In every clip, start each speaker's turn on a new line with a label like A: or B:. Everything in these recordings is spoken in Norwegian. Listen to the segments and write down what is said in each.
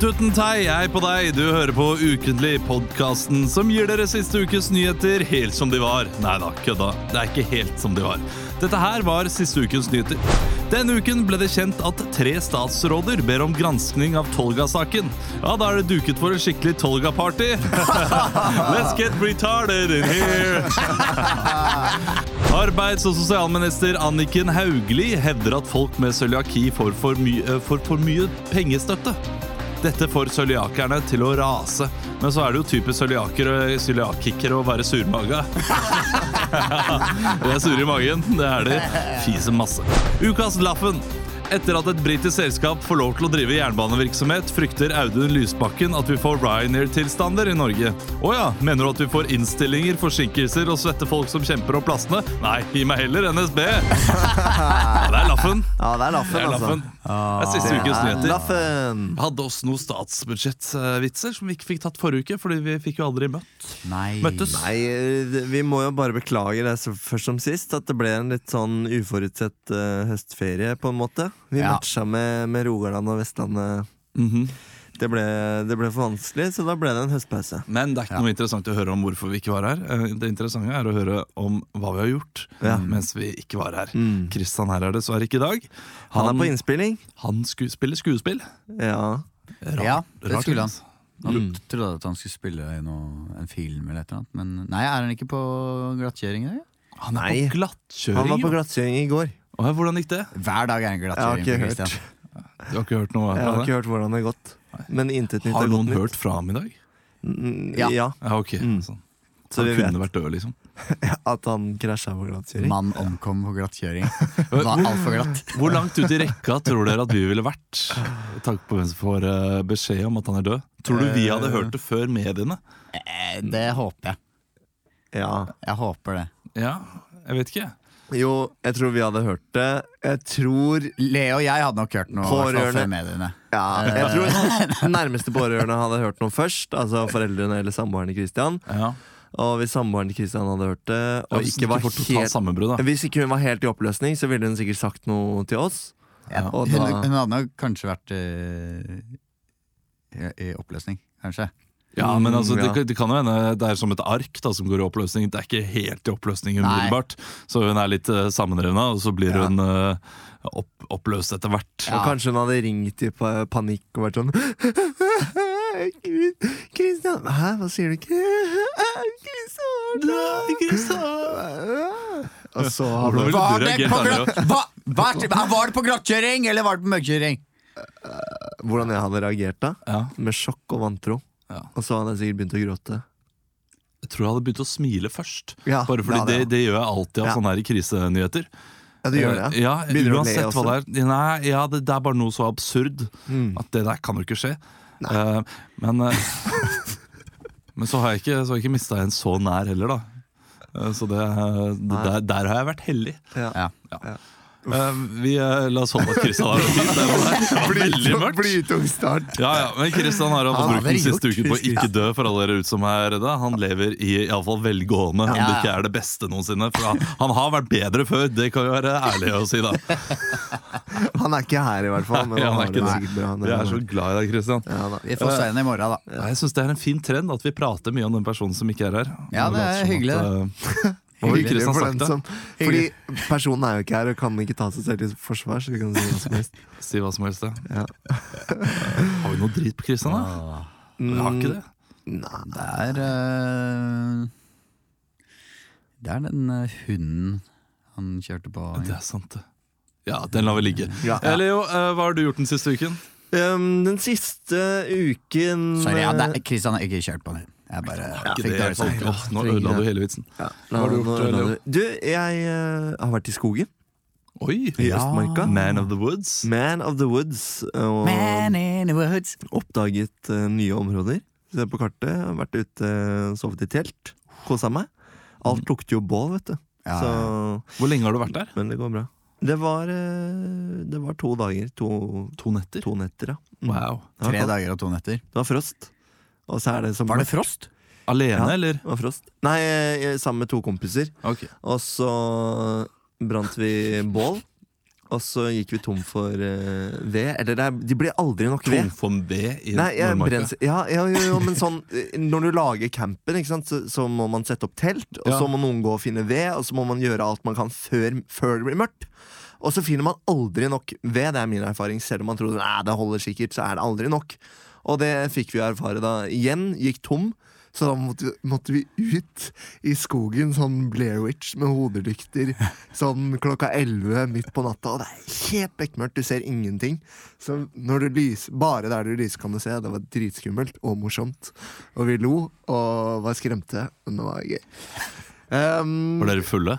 A: Tutten tei, hei på deg. Du hører på Ukentlig, podkasten som gir dere siste ukes nyheter helt som de var. Nei da, kødda. Det er ikke helt som de var. Dette her var siste ukens nyheter. Denne uken ble det kjent at tre statsråder ber om granskning av Tolga-saken. Ja, da er det duket for et skikkelig Tolga-party. Let's get retarded in here. Arbeids- og sosialminister Anniken Hauglie hevder at folk med cøliaki får for, my eh, får for mye pengestøtte. Dette får cøliakerne til å rase. Men så er det jo typisk cøliakere å være surmaga. De er sure i magen. Det er de. Fiser masse. Ukas Laffen. Etter at et britisk selskap får lov til å drive jernbanevirksomhet, frykter Audun Lysbakken at vi får Ryanair-tilstander i Norge. Å ja, mener du at vi får innstillinger, forsinkelser og svette folk som kjemper om plassene? Nei, gi meg heller NSB! Ja, det er Laffen.
B: Ja, det er laffen,
A: Det er
B: altså.
A: Laffen. Det er siste ukens
B: Det er
A: nyheter.
B: Laffen.
A: Hadde også noen statsbudsjettvitser som vi ikke fikk tatt forrige uke, fordi vi fikk jo aldri møtt.
C: Nei.
A: møttes.
B: Nei, eh, vi må jo bare beklage det så- først som sist, at det ble en litt sånn uforutsett eh, høstferie, på en måte. Vi
C: Ja.
B: matcha med, med Rogaland og Vestlandet. Mhm. det, ble, det ble for vanskelig, så da ble det en høstpause.
A: Men det er ikke noe interessant å høre om hvorfor vi ikke var her. Eh, Det interessante er å høre om hva vi har gjort
B: Ja.
A: mens vi ikke var her.
B: Mm.
A: Kristian her er dessverre ikke i dag.
B: Han, er på innspilling.
A: han sku, spiller skuespill.
B: Ja.
A: Rart,
C: Ja, det
A: rart,
C: skulle han.
A: altså.
C: Han trodde at han skulle spille i noe, en film eller et eller annet. Men nei, er han ikke på glattkjøring? eller?
A: Han er
B: Nei.
A: på glattkjøring.
B: Han var på
A: ja.
B: glattkjøring i går.
A: Å, ja, hvordan gikk det?
C: Hver dag er han
B: Jeg har
C: glattkjøring.
B: ikke
C: på
B: hørt,
C: Christian.
B: jeg
A: Du har ikke hørt noe fra
B: har
A: det?
B: ikke hørt hvordan det har gått. Men intet nytt
A: Har
B: er
A: noen
B: godt nytt.
A: hørt fra ham i dag?
B: Mm,
C: Ja.
B: Ja,
A: Ja, ok.
B: Mm.
A: Sånn.
B: så
A: Han
B: vi
A: kunne
B: vet
A: vært død, liksom.
B: at han krasja på glattkjøring.
C: Mann omkom på glattkjøring. Var altfor glatt.
A: Hvor langt ut i rekka tror dere at vi ville vært? Takk på hvem som får eh, beskjed om at han er død. Eh, Tror du vi hadde hørt det før mediene?
C: Eh, Det håper jeg.
B: Ja.
C: Jeg håper det.
A: Ja, jeg vet ikke.
B: Jo, jeg tror vi hadde hørt det. Jeg tror
C: Leo og jeg hadde nok hørt noe i hvert fall
B: Pårørende.
C: før mediene.
B: Ja, jeg tror nærmeste pårørende hadde hørt noe først. Altså foreldrene eller samboeren til Christian.
A: Ja.
B: Og hvis samboeren til Christian hadde hørt det, og
A: hvis den
B: ikke var
A: får totalt
B: helt
A: sammenbrudd, da.
B: Hvis ikke hun var helt i oppløsning, så ville hun sikkert sagt noe til oss.
C: Ja.
B: Og
C: Hun,
B: da-
C: hun hadde nok kanskje vært eh, i, i oppløsning, kanskje.
A: Ja, men altså,
B: Mm, ja.
A: Det, det kan jo hende det er som et ark da, som går i oppløsning. Det er ikke helt i oppløsning
C: Nei.
A: umiddelbart, så hun er litt uh, sammenrevna, og så blir
C: Ja.
A: hun eh, opp, oppløst etter hvert.
B: Og kanskje hun hadde ringt i pa- panikk og vært sånn Christian Hæ, hva sier du ikke? Christian Og så
A: Hvordan
B: hadde
A: ville
C: Var
A: du
C: det
A: reagert
C: på,
A: annerledes?
C: glatt, hva, hva, var det på glattkjøring, eller var det på mørkkjøring?
B: Hvordan jeg hadde reagert da?
A: Ja.
B: Med sjokk og vantro.
A: Ja.
B: Og så hadde jeg sikkert begynt å gråte.
A: Jeg tror jeg hadde begynt å smile først.
B: Ja,
A: Bare fordi
B: ja,
A: det,
B: ja.
A: det gjør jeg alltid av
B: Ja.
A: sånne her krisenyheter.
B: Ja, du gjør
A: Eh,
B: det?
A: Ja,
B: Begynner du å le
A: uansett hva det er. Nei, ja, det, det er bare noe så absurd
B: Mm.
A: at det der kan jo ikke skje. Eh, men, eh, men så har jeg ikke, så har jeg ikke mista en så nær heller, da. Eh, så det, eh, det der, der har jeg vært heldig.
B: Ja.
C: Ja.
A: Eh, vi, eh, la oss holde at Kristian har det fint. Det var, det var veldig mørkt.
B: Blytung start.
A: Ja, ja, men Kristian har altså
C: Han
A: brukt
C: hadde
A: den siste
C: gjort
A: uken på å
C: hvis-
A: ikke dø, for alle dere ute som er redda. Han lever i iallfall velgående, om
C: Ja,
A: det
C: ja.
A: ikke er det beste noensinne. For han, han har vært bedre før, det kan vi være ærlige å si, da.
B: Han er ikke her, i hvert fall. Men
A: Ja,
B: han
A: han er
B: har det
A: ikke
B: sikkert bra.
A: Vi er så glad i deg, Kristian.
B: ja, da.
C: Vi får se henne i morgen, da.
A: Ja, jeg syns det er en fin trend at vi prater mye om den personen som ikke er her.
C: Ja,
A: Og
C: det
A: later
C: er
A: som
C: hyggelig,
A: At, uh, hva ville
B: Hyggelig
A: Kristian
B: for
A: sagt,
B: den
A: da?
B: som Fordi personen er jo ikke her og kan ikke ta seg selv til forsvar. Så vi kan si hva som helst
A: Si hva som helst, da.
B: Ja.
A: Har vi noe drit på Kristian, da? Vi har ikke det.
B: Nei,
C: Det er eh, Det er den eh, hunden han kjørte på.
A: Det er sant, det. Ja, den lar vi ligge.
B: Mm, Ja.
A: Eh, Leo, eh, hva har du gjort den siste uken?
B: Um, den siste uken
C: Sorry, ja,
B: eh,
C: det, er- Christian har ikke kjørt på den. Jeg bare fikk
A: det,
C: dårlig
A: folk.
C: samvittighet.
A: Åh, nå ødela du hele vitsen.
B: Ja, nå-
A: Hva har du
B: eh, nå-
A: gjort,
B: nå-
A: Leo?
B: Du, jeg eh, har vært i skogen.
A: Oi!
B: I Østmarka. Mm.
A: Man of the Woods.
B: Man of the woods. Og
C: Man in the woods.
B: oppdaget eh, nye områder. Se på kartet. har Vært ute, sovet i telt. Kosa meg.
A: Mm.
B: Alt lukter jo bål, vet du.
C: Ja,
B: Så,
A: Hvor lenge har du vært der?
B: men det går bra. Det var, eh, det var to dager. To,
A: To netter.
B: to netter, ja. Mm.
A: Wow.
B: Det var
C: Tre
B: kaldt.
C: dager og to netter.
B: Det var frost. Og så er det som
C: Var det frost?
A: Alene,
B: Ja.
A: eller?
B: Det var frost. Nei, eh, sammen med to kompiser.
A: Ok.
B: Og så brant vi bål. Og så gikk vi tom for eh, ved. Eller det er, de blir aldri nok
A: Tom
B: ved.
A: von B i
B: Nei, jeg
A: Nordmarka.
B: brenner ja, ja, jo, jo, men sånn eh, Når du lager campen, ikke sant, så, så må man sette opp telt, og
A: Ja.
B: så må noen gå og finne ved, og så må man gjøre alt man kan før, før det blir mørkt. Og så finner man aldri nok ved, det er min erfaring. Selv om man trodde Nei, det holder sikkert, så er det aldri nok. Og det fikk vi erfare da. Igjen gikk tom. Så da måtte, vi- måtte vi ut i skogen, sånn Blair Witch med hodelykter, sånn klokka 11 midt på natta, og det er helt bekmørkt, du ser ingenting. Så når du lyser, bare der du lyser kan du se, det var dritskummelt og morsomt. Og vi lo, og var skremte, men det var gøy. Um,
A: Var dere fulle?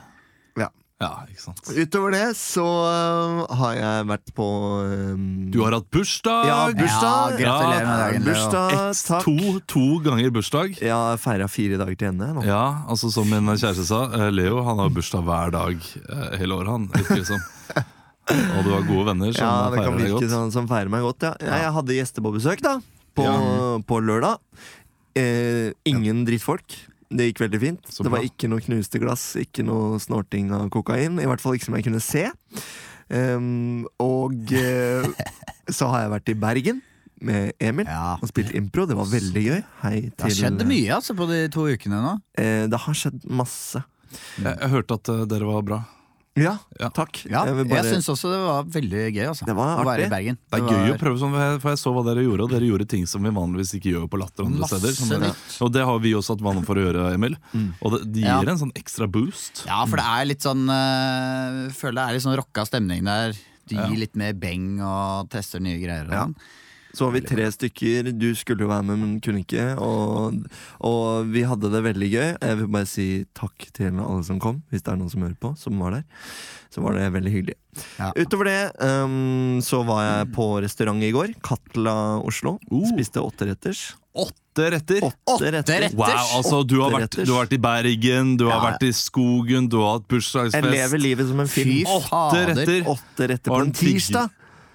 B: Ja.
A: Ja, ikke sant.
B: utover det så uh, har jeg vært på um,
A: Du har hatt bursdag!
B: ja, bursdag.
A: Ja, gratulerer
C: med dagen, Leo.
B: Bursdag, takk.
A: To, to ganger bursdag.
B: Jeg har feira fire dager til ende nå.
A: Ja, altså som min kjæreste sa, eh, Leo han har bursdag hver dag eh, hele året, han. Virker det som. Og du har gode venner som
B: Ja, det kan
A: feirer deg
B: virke
A: godt.
B: sånn som feirer meg godt. Ja. Jeg, jeg hadde gjester på besøk da på, på lørdag. Eh, ingen drittfolk. Det gikk veldig fint.
A: Så
B: det var
A: bra.
B: ikke noe knuste glass, ikke noe snorting av kokain. I hvert fall ikke som jeg kunne se. Ehm, og eh, så har jeg vært i Bergen med Emil
C: Ja.
B: og spilt impro. Det var veldig gøy. Hei til
C: Det har skjedd mye altså, på de to ukene nå.
B: Eh, det har skjedd masse.
A: Jeg, jeg hørte at eh, dere var bra.
B: Ja,
A: Ja.
B: takk.
C: Ja,
B: Jeg vil
C: jeg,
B: bare-
C: syns også det var veldig gøy altså,
B: Det var
C: å være
B: artig.
C: i Bergen.
A: Det er gøy å prøve sånn, for jeg- for jeg så hva dere gjorde, og dere gjorde ting som vi vanligvis ikke gjør på Latter andre
C: Masse
A: steder. Som,
C: nytt.
A: og det har vi også hatt vane for å gjøre, Emil.
B: Mm.
A: Og det, det
C: Ja.
A: gir en sånn ekstra boost.
C: Ja, for det er litt sånn eh, Jeg Føler det er litt sånn rocka stemning der. Du gir litt mer beng og tester nye greier. Og
B: Ja.
C: sånn.
B: Så var vi tre stykker. Du skulle jo være med, men kunne ikke. Og, og vi hadde det veldig gøy. Jeg vil bare si takk til alle som kom, hvis det er noen som hører på, som var der. Så var det veldig hyggelig.
C: Ja.
B: Utover det ehm, så var jeg på restaurant i går. Katla Oslo.
A: Oh.
B: Spiste åtteretters.
A: Åtte retter!
B: Åtte retter.
C: retter?
A: Wow, altså du har,
B: Åtte
A: vært,
B: retters.
A: du har vært i Bergen, du har
C: Ja.
A: vært i skogen, du har hatt bursdagsfest.
B: Jeg lever livet som en
C: Fy
B: film.
A: Åtte
C: fader.
A: retter!
B: Åtte retter
A: Var
B: på
A: den
B: en tirsdag.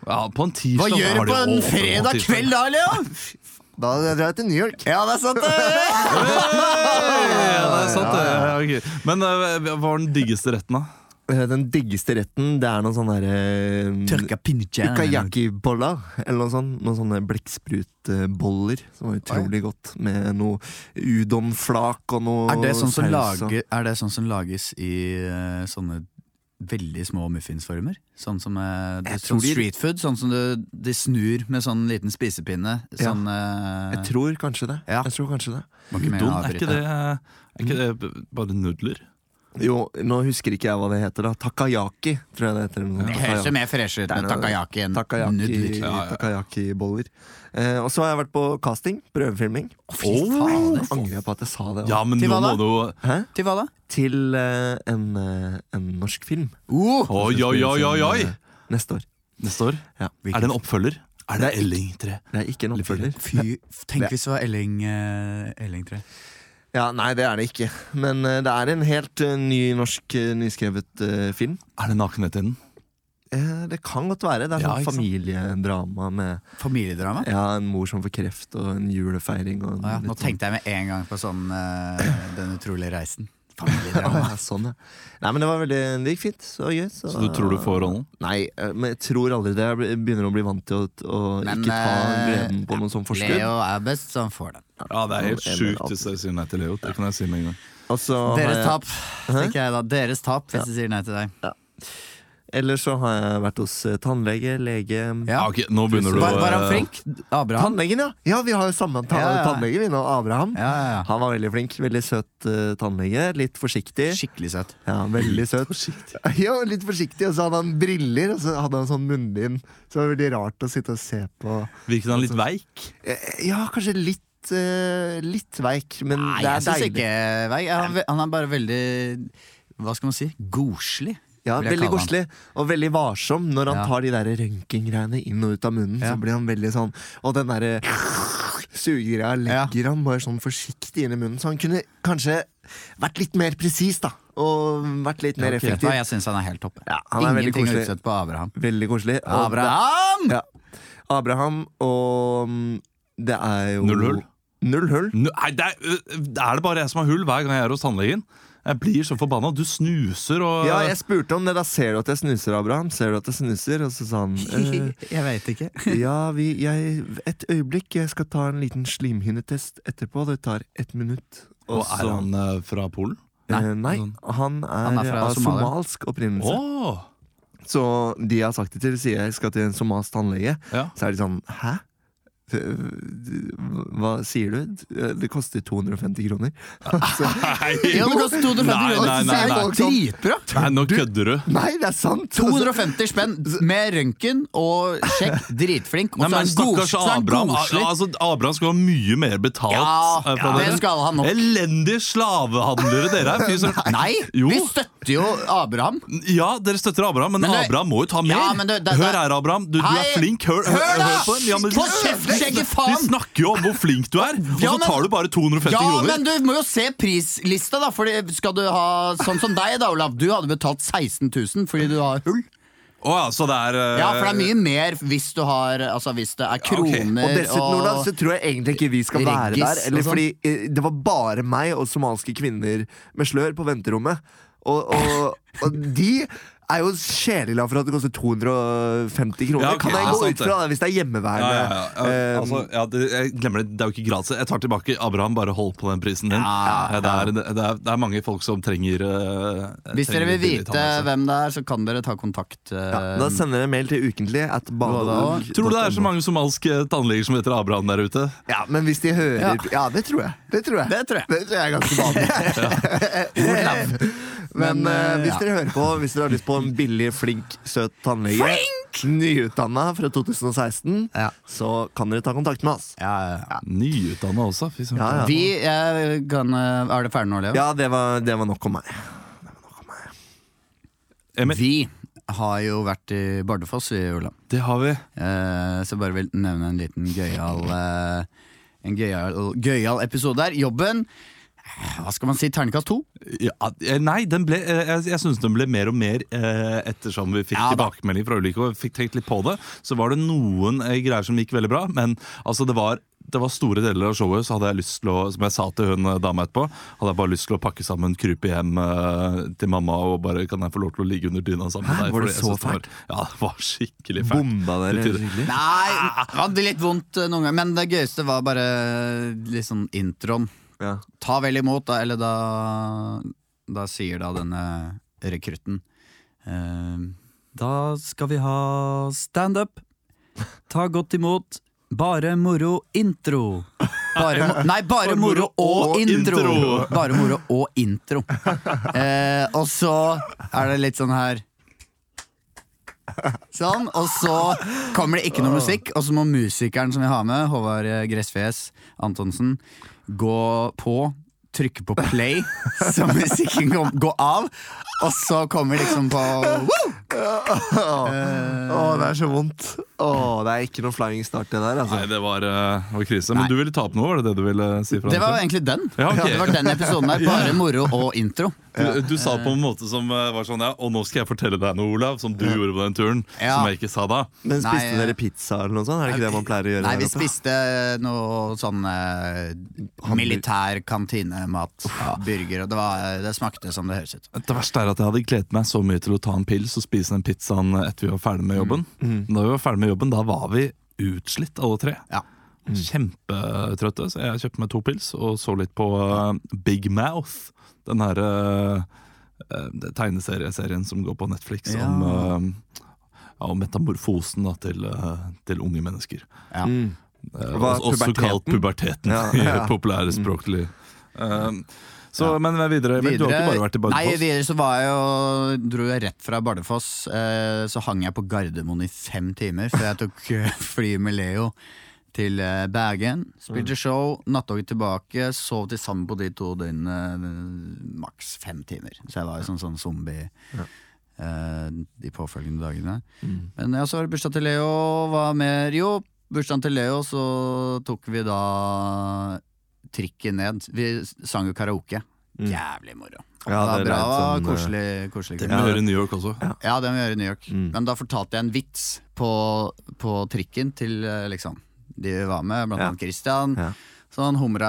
A: Ja, på en tirsdag
C: Hva
A: så
C: gjør
A: har
C: Sånn du
A: de
C: på en
A: åpent på
C: fredag
A: tirsdag.
C: kveld da, Leo?
B: Da drar jeg til New York.
C: Ja, det er sant, det!
A: Ja, det er sant, det. Ja, ok. Men eh, hva var den diggeste retten, da?
B: Eh, Den diggeste retten, det er noen sånne derre
A: eh,
C: Tørka pinnekjær.
B: Ukayaki-boller, eller noe sånt. Noen sånne blekksprutboller som var utrolig godt. Med noe udonflak og noe
C: Er det sånn som,
B: saus og-
C: lager, er det sånn som lages i eh, sånne veldig små muffinsformer? Sånn som eh, det,
B: Jeg
C: sånn
B: tror de-
C: street food? Sånn som du, de snur med sånn liten spisepinne?
B: Ja.
C: Sånn eh,
B: Jeg tror kanskje det.
C: Ja.
B: Jeg tror kanskje det.
C: må ikke mer
A: Udon, er
C: avbryte.
A: ikke det, er ikke det b- bare nudler?
B: Jo, nå husker ikke jeg hva det heter, da. Takayaki, tror jeg det heter. eller noe sånt.
C: Det høres jo mer fresh
B: Det
C: ut
B: er
C: med
B: noe-
C: takayaki enn
B: Takayaki-
C: nudler.
A: Ja, ja.
B: Takayaki-boller. eh, og så har jeg vært på casting. Prøvefilming.
A: Åh!
B: Nå angrer jeg på at jeg sa det.
A: Ja, men
C: Til
A: nå
C: hva
A: må
C: da?
A: du
B: Hæ?
C: Til hva da?
B: Til eh, en, eh, en norsk film.
C: Oh,
A: Oi, oi, oi, oi! oi.
B: sånn, eh, Neste år.
A: Neste år.
B: Ja.
A: Er det en oppfølger? Er det Elling 3?
B: Det er ikke en oppfølger.
C: Fy, tenk hvis det var Elling, eh, Elling 3.
B: Ja, Nei, det er det ikke. Men eh, det er en helt eh, ny norsk eh, nyskrevet eh, film.
A: Er det nakenhet i den?
B: Eh, det kan godt være. Det
A: Ja,
B: er sånn
A: ikke sant?
B: familiedrama med
C: Familiedrama?
B: ja, en mor som får kreft, og en julefeiring. Og
C: Å Ah. ja, nå
B: litt sånn-
C: tenkte jeg med en gang på sånn eh, Den utrolige reisen. Familiedrama.
B: ja, sånn, ja. Nei, men det var veldig Det gikk fint. Så gøy. Så,
A: Så du tror du får rollen?
B: Nei, eh, men jeg tror aldri det. Jeg blir- begynner å bli vant til å, å
C: Men,
B: ikke ta
C: eh,
B: gleden på noe sånn forskudd.
C: Leo er best, så han får den.
A: Ja, det er helt
B: Eller
A: sjukt
B: alt.
A: hvis dere sier nei til Leo. Det kan jeg si med en gang.
B: Og så har
C: Deres
B: jeg-
C: tap, tenker jeg da. Deres tap hvis de sier nei til deg.
B: Ellers så har jeg vært hos eh, tannlege, lege
A: Ja, ok, nå begynner du eh,
C: Var,
A: å-
C: var han flink? Abraham?
B: Tannlegen, ja! Ja, vi har jo samme ta
C: Ja, ja.
B: tannlege, vi nå. Abraham.
C: Ja, ja,
B: Han var veldig flink. Veldig søt eh, tannlege. Litt forsiktig.
C: ja. Skikkelig søt.
B: Ja, veldig søt. Ja, litt forsiktig, og så hadde han briller, og så hadde han sånn munnbind. Så det var veldig rart å sitte og se på.
A: Virket han litt veik?
B: Eh, Ja, kanskje litt eh, Litt veik, men
C: Nei,
B: det
C: jeg
B: er
C: syns
B: deilig.
C: ikke Vei. Han, han er bare veldig Hva skal man si? Godslig.
B: Ja,
C: vil jeg
B: Veldig
C: kalle han.
B: koselig, og veldig varsom når han
C: Ja.
B: tar de der røntgengreiene inn og ut av munnen.
C: Ja.
B: Så blir han veldig sånn Og den derre sugegreia legger han bare sånn forsiktig inn i munnen. Så han kunne kanskje vært litt mer presis, da. Og vært litt mer
C: Ok, vet du
B: effektiv.
C: hva, Jeg syns han er helt toppe.
B: Ja, han er veldig
C: Ingenting å
B: koselig.
C: utsette på Abraham.
B: Veldig koselig. Og
C: Abraham!
B: Ja. Abraham og mm, Det er jo
A: Null hull?
B: Null hull.
A: Nå- Nei, det er, øh, er det bare jeg som har hull hver gang jeg er hos tannlegen? Jeg blir så forbanna. Du snuser og
B: Ja, jeg spurte om det. Da ser du at jeg snuser, Abraham. Ser du at jeg snuser? Og så sa han eh,
C: Jeg veit ikke.
B: Ja, vi, jeg, et øyeblikk. Jeg skal ta en liten slimhinnetest etterpå. Det tar ett minutt.
A: Og
B: så-
A: er han eh, fra Polen?
B: Eh, nei, han er,
C: Han er fra
B: av
C: Somalia.
B: somalsk opprinnelse.
A: Åh!
B: Så de jeg har sagt det til, sier jeg skal til en somalsk tannlege.
A: Ja.
B: Så er de sånn Hæ? Hva sier du? Det koster 250 kroner.
C: Ja, det koster 250
A: Nei,
C: kroner!
A: nei,
C: så
A: nei,
C: er det
A: nei.
C: Dritbra!
A: Nei, nå kødder du.
B: Nei, det er sant! Altså,
C: 250 spenn med røntgen og sjekk, dritflink. Og
A: Nei,
C: så er
A: men
C: han god-
A: Stakkars
C: så er han
A: Abraham.
C: godslitt.
A: Al- Altså, Abraham skal ha mye mer betalt.
C: Ja,
A: eh, fra
C: ja, det
A: dere.
C: skal han nok.
A: Elendige slavehandlere dere er. Fy
B: Eh,
A: søren.
C: Nei,
A: Jo.
C: vi støtter jo Abraham.
A: Ja, dere støtter Abraham, men
C: Men det-
A: Abraham må jo ta mer.
C: Ja, men det- det- det-
A: hør her, Abraham. Du, du er
C: Hei!
A: flink. Hør,
C: Hør da!
A: på den. Ja, men-
C: Få kjeft, skjegget, faen!
A: De snakker jo om hvor flink du er, og
C: Ja,
A: så
C: men-
A: tar du bare 250
C: Ja,
A: kroner.
C: men du må jo se prislista, da. Fordi skal du ha sånn som deg, da, Olav. Du hadde betalt 16 000 fordi du har hull.
A: Å ja, så det er eh,
C: Ja, for det er mye mer hvis du har Altså hvis det er
A: ok. Og
C: kroner
B: Og dessuten, Olav, så tror jeg egentlig ikke vi skal være
C: Reggis
B: der. Eller
C: og sånn.
B: fordi eh, det var bare meg og somalske kvinner med slør på venterommet. Og, og, og de er jo sjeleglade for at det koster 250 kroner.
A: Ja, ok,
B: kan
A: det
B: jeg
A: er
B: gå
A: sant
B: ut
A: det.
B: fra det hvis det er
A: ja,
B: hjemmeværende?
A: ja, ja.
B: eh,
A: Ja, altså, ja, det, jeg glemmer det. Det er jo ikke gratis. Jeg tar tilbake Abraham. Bare hold på den prisen din.
C: Ja,
A: Eh, Det, er, det, er, det er mange folk som trenger eh,
C: Hvis dere
A: trenger
C: vil
A: billig
C: vite
A: tannhelse.
C: hvem det er, så kan dere ta kontakt. eh,
B: altså. ja, da sender dere mail til ukentlig at badeog
A: Tror du det er så mange somalske tannleger som heter Abraham der ute?
B: Ja, men hvis de hører Ja,
C: Ja.
B: det tror jeg. Det tror jeg.
C: Det tror jeg.
B: Det tror jeg er ganske vanlig. Men,
C: Men,
B: eh,
C: eh,
B: hvis
C: ja.
B: dere hører på Hvis dere har lyst på en billig, flink, søt tannlege, nyutdanna fra 2016,
C: Ja.
B: så kan dere ta kontakt med oss.
C: Ja, ja, ja.
A: Nyutdanna også. Fy søren.
B: Ja, ja.
C: Vi eh, kan eh, Er det ferdig nå, Leo?
B: Ja, det var, det var nok om meg.
A: Emil,
C: Vi har jo vært i Bardufoss, vi, Olav.
A: det har vi.
C: Eh, så bare vil nevne en liten gøyal eh, En gøyal, gøyal episode der. Jobben eh, Hva skal man si? Terningkast to?
A: Ja, eh, nei, den ble, eh, jeg, jeg syns den ble mer og mer eh, ettersom vi fikk
C: Ja da.
A: tilbakemelding fra ulike og fikk tenkt litt på det. Så var det noen eh, greier som gikk veldig bra, men altså, det, var, det var store deler av showet. Så hadde jeg lyst til å, som jeg sa til hun eh, dama etterpå, hadde jeg bare lyst til å pakke sammen, krype hjem eh, til mamma og bare Kan jeg få lov til å ligge under dyna sammen
B: Hæ?
A: med deg?
B: Var det
A: Fordi jeg
B: så
A: synes var-
B: fælt?
A: Ja, det var skikkelig fælt.
B: Bomba dere
A: Det betyr-
B: skikkelig?
C: Nei, det Ah, hadde litt vondt eh, noen ganger. Men det gøyeste var bare litt sånn introen.
B: Ja.
C: Ta vel imot, da. Eller da Da sier da denne rekrutten eh, Da skal vi ha standup. Ta godt imot. Bare moro intro. Bare, mo- nei, bare moro og
A: og
C: intro!
A: intro.
C: Bare moro og intro. Eh, og så er det litt sånn her Sånn, og så kommer det ikke noe musikk, og så må musikeren som vi har med, Håvard Gressfjes Antonsen, gå på, trykke på play, så musikken kom- går av, og så kommer liksom på
B: Å, det er så vondt. Å, det er ikke noe flying start, det der. Altså.
A: Nei, det var, eh, det var krise. Men
C: Nei.
A: du ville ta opp noe, var det det du ville eh, si? fra
C: Det var
A: deg
C: egentlig den.
A: Ja, ok.
C: Det var den episoden der. Bare moro og intro.
A: Du, du sa på en måte som eh, var sånn ja, Og nå skal jeg fortelle deg noe, Olav, som du gjorde på den turen.
C: Ja.
A: Som jeg ikke sa da.
B: Men
C: Nei,
B: spiste
C: eh,
B: dere pizza eller noe sånt? Er det ikke det man pleier å gjøre?
C: Nei,
B: her
C: vi
B: oppe?
C: spiste noe sånn eh, militær kantinemat. Burger. Og det, var, eh, det smakte som det høres ut.
A: Det verste er at jeg hadde gledet meg så mye til å ta en pils og spise den pizzaen etter vi var ferdig med jobben.
C: Mm.
A: Da vi var ferdig med jobben, da var vi utslitt alle tre.
C: Ja. Mm.
A: Kjempetrøtte. Så jeg kjøpte meg to pils og så litt på eh, Big Mouth. Den her eh, eh, tegneserieserien som går på Netflix
C: Ja.
A: om, eh, ja, om metamorfosen da, til, eh, til unge mennesker.
C: Ja.
A: Eh,
B: Hva er
A: også også kalt puberteten
B: Ja,
A: i
B: ja. Mm.
A: populære språklig. Um, så, men videre, men Du har ikke bare vært i
C: Nei,
A: Bardufoss?
C: videre så var jeg jo Dro jeg rett fra Bardufoss eh, Så hang jeg på Gardermoen i fem timer Før jeg tok eh, fly med Leo Til eh, Bergen
A: Mm.
C: Spilte show, nattoget tilbake Sov til sammen på de to døgnene eh, Maks fem timer Så jeg var jo sånn, sånn zombie eh, De påfølgende dagene Men ja, så var det bursdag til Leo Hva mer? Jo, bursdagen til Leo Så tok vi da Trikken ned Vi sang jo karaoke Jævlig moro.
B: Mm. Ja,
C: det var
B: det er
C: bra.
B: litt sånn,
C: koselig. koselig
A: Det må
C: kveld.
A: vi gjøre i New York også.
C: ja. det må vi gjøre i New York.
B: Mm.
C: Men da fortalte jeg en vits på, på trikken til eh, liksom, de vi var med, blant
B: Ja.
C: annet Christian.
B: Ja.
C: Så han humra,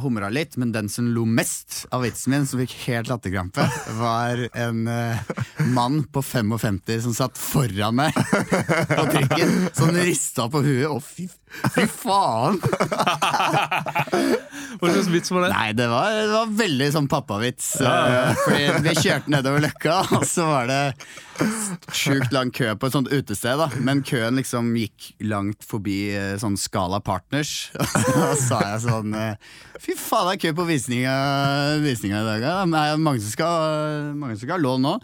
C: humra litt, men den som lo mest av vitsen min, som fikk helt latterkrampe, var en eh, mann på 55 som satt foran meg på trikken. Som rista på huet. Å, fy, fy faen!
A: Hva slags vits var det?
C: Nei, det var, det var veldig sånn pappavits. eh, Fordi vi kjørte nedover Løkka, og så var det sjukt lang kø på et sånt utested. da Men køen liksom gikk langt forbi eh, sånn Skala Partners. Og da sa jeg sånn eh, Fy faen, det er kø på visninga, visninga i dag. Ja. Men Det er mange som skal, mange som skal ha lån nå.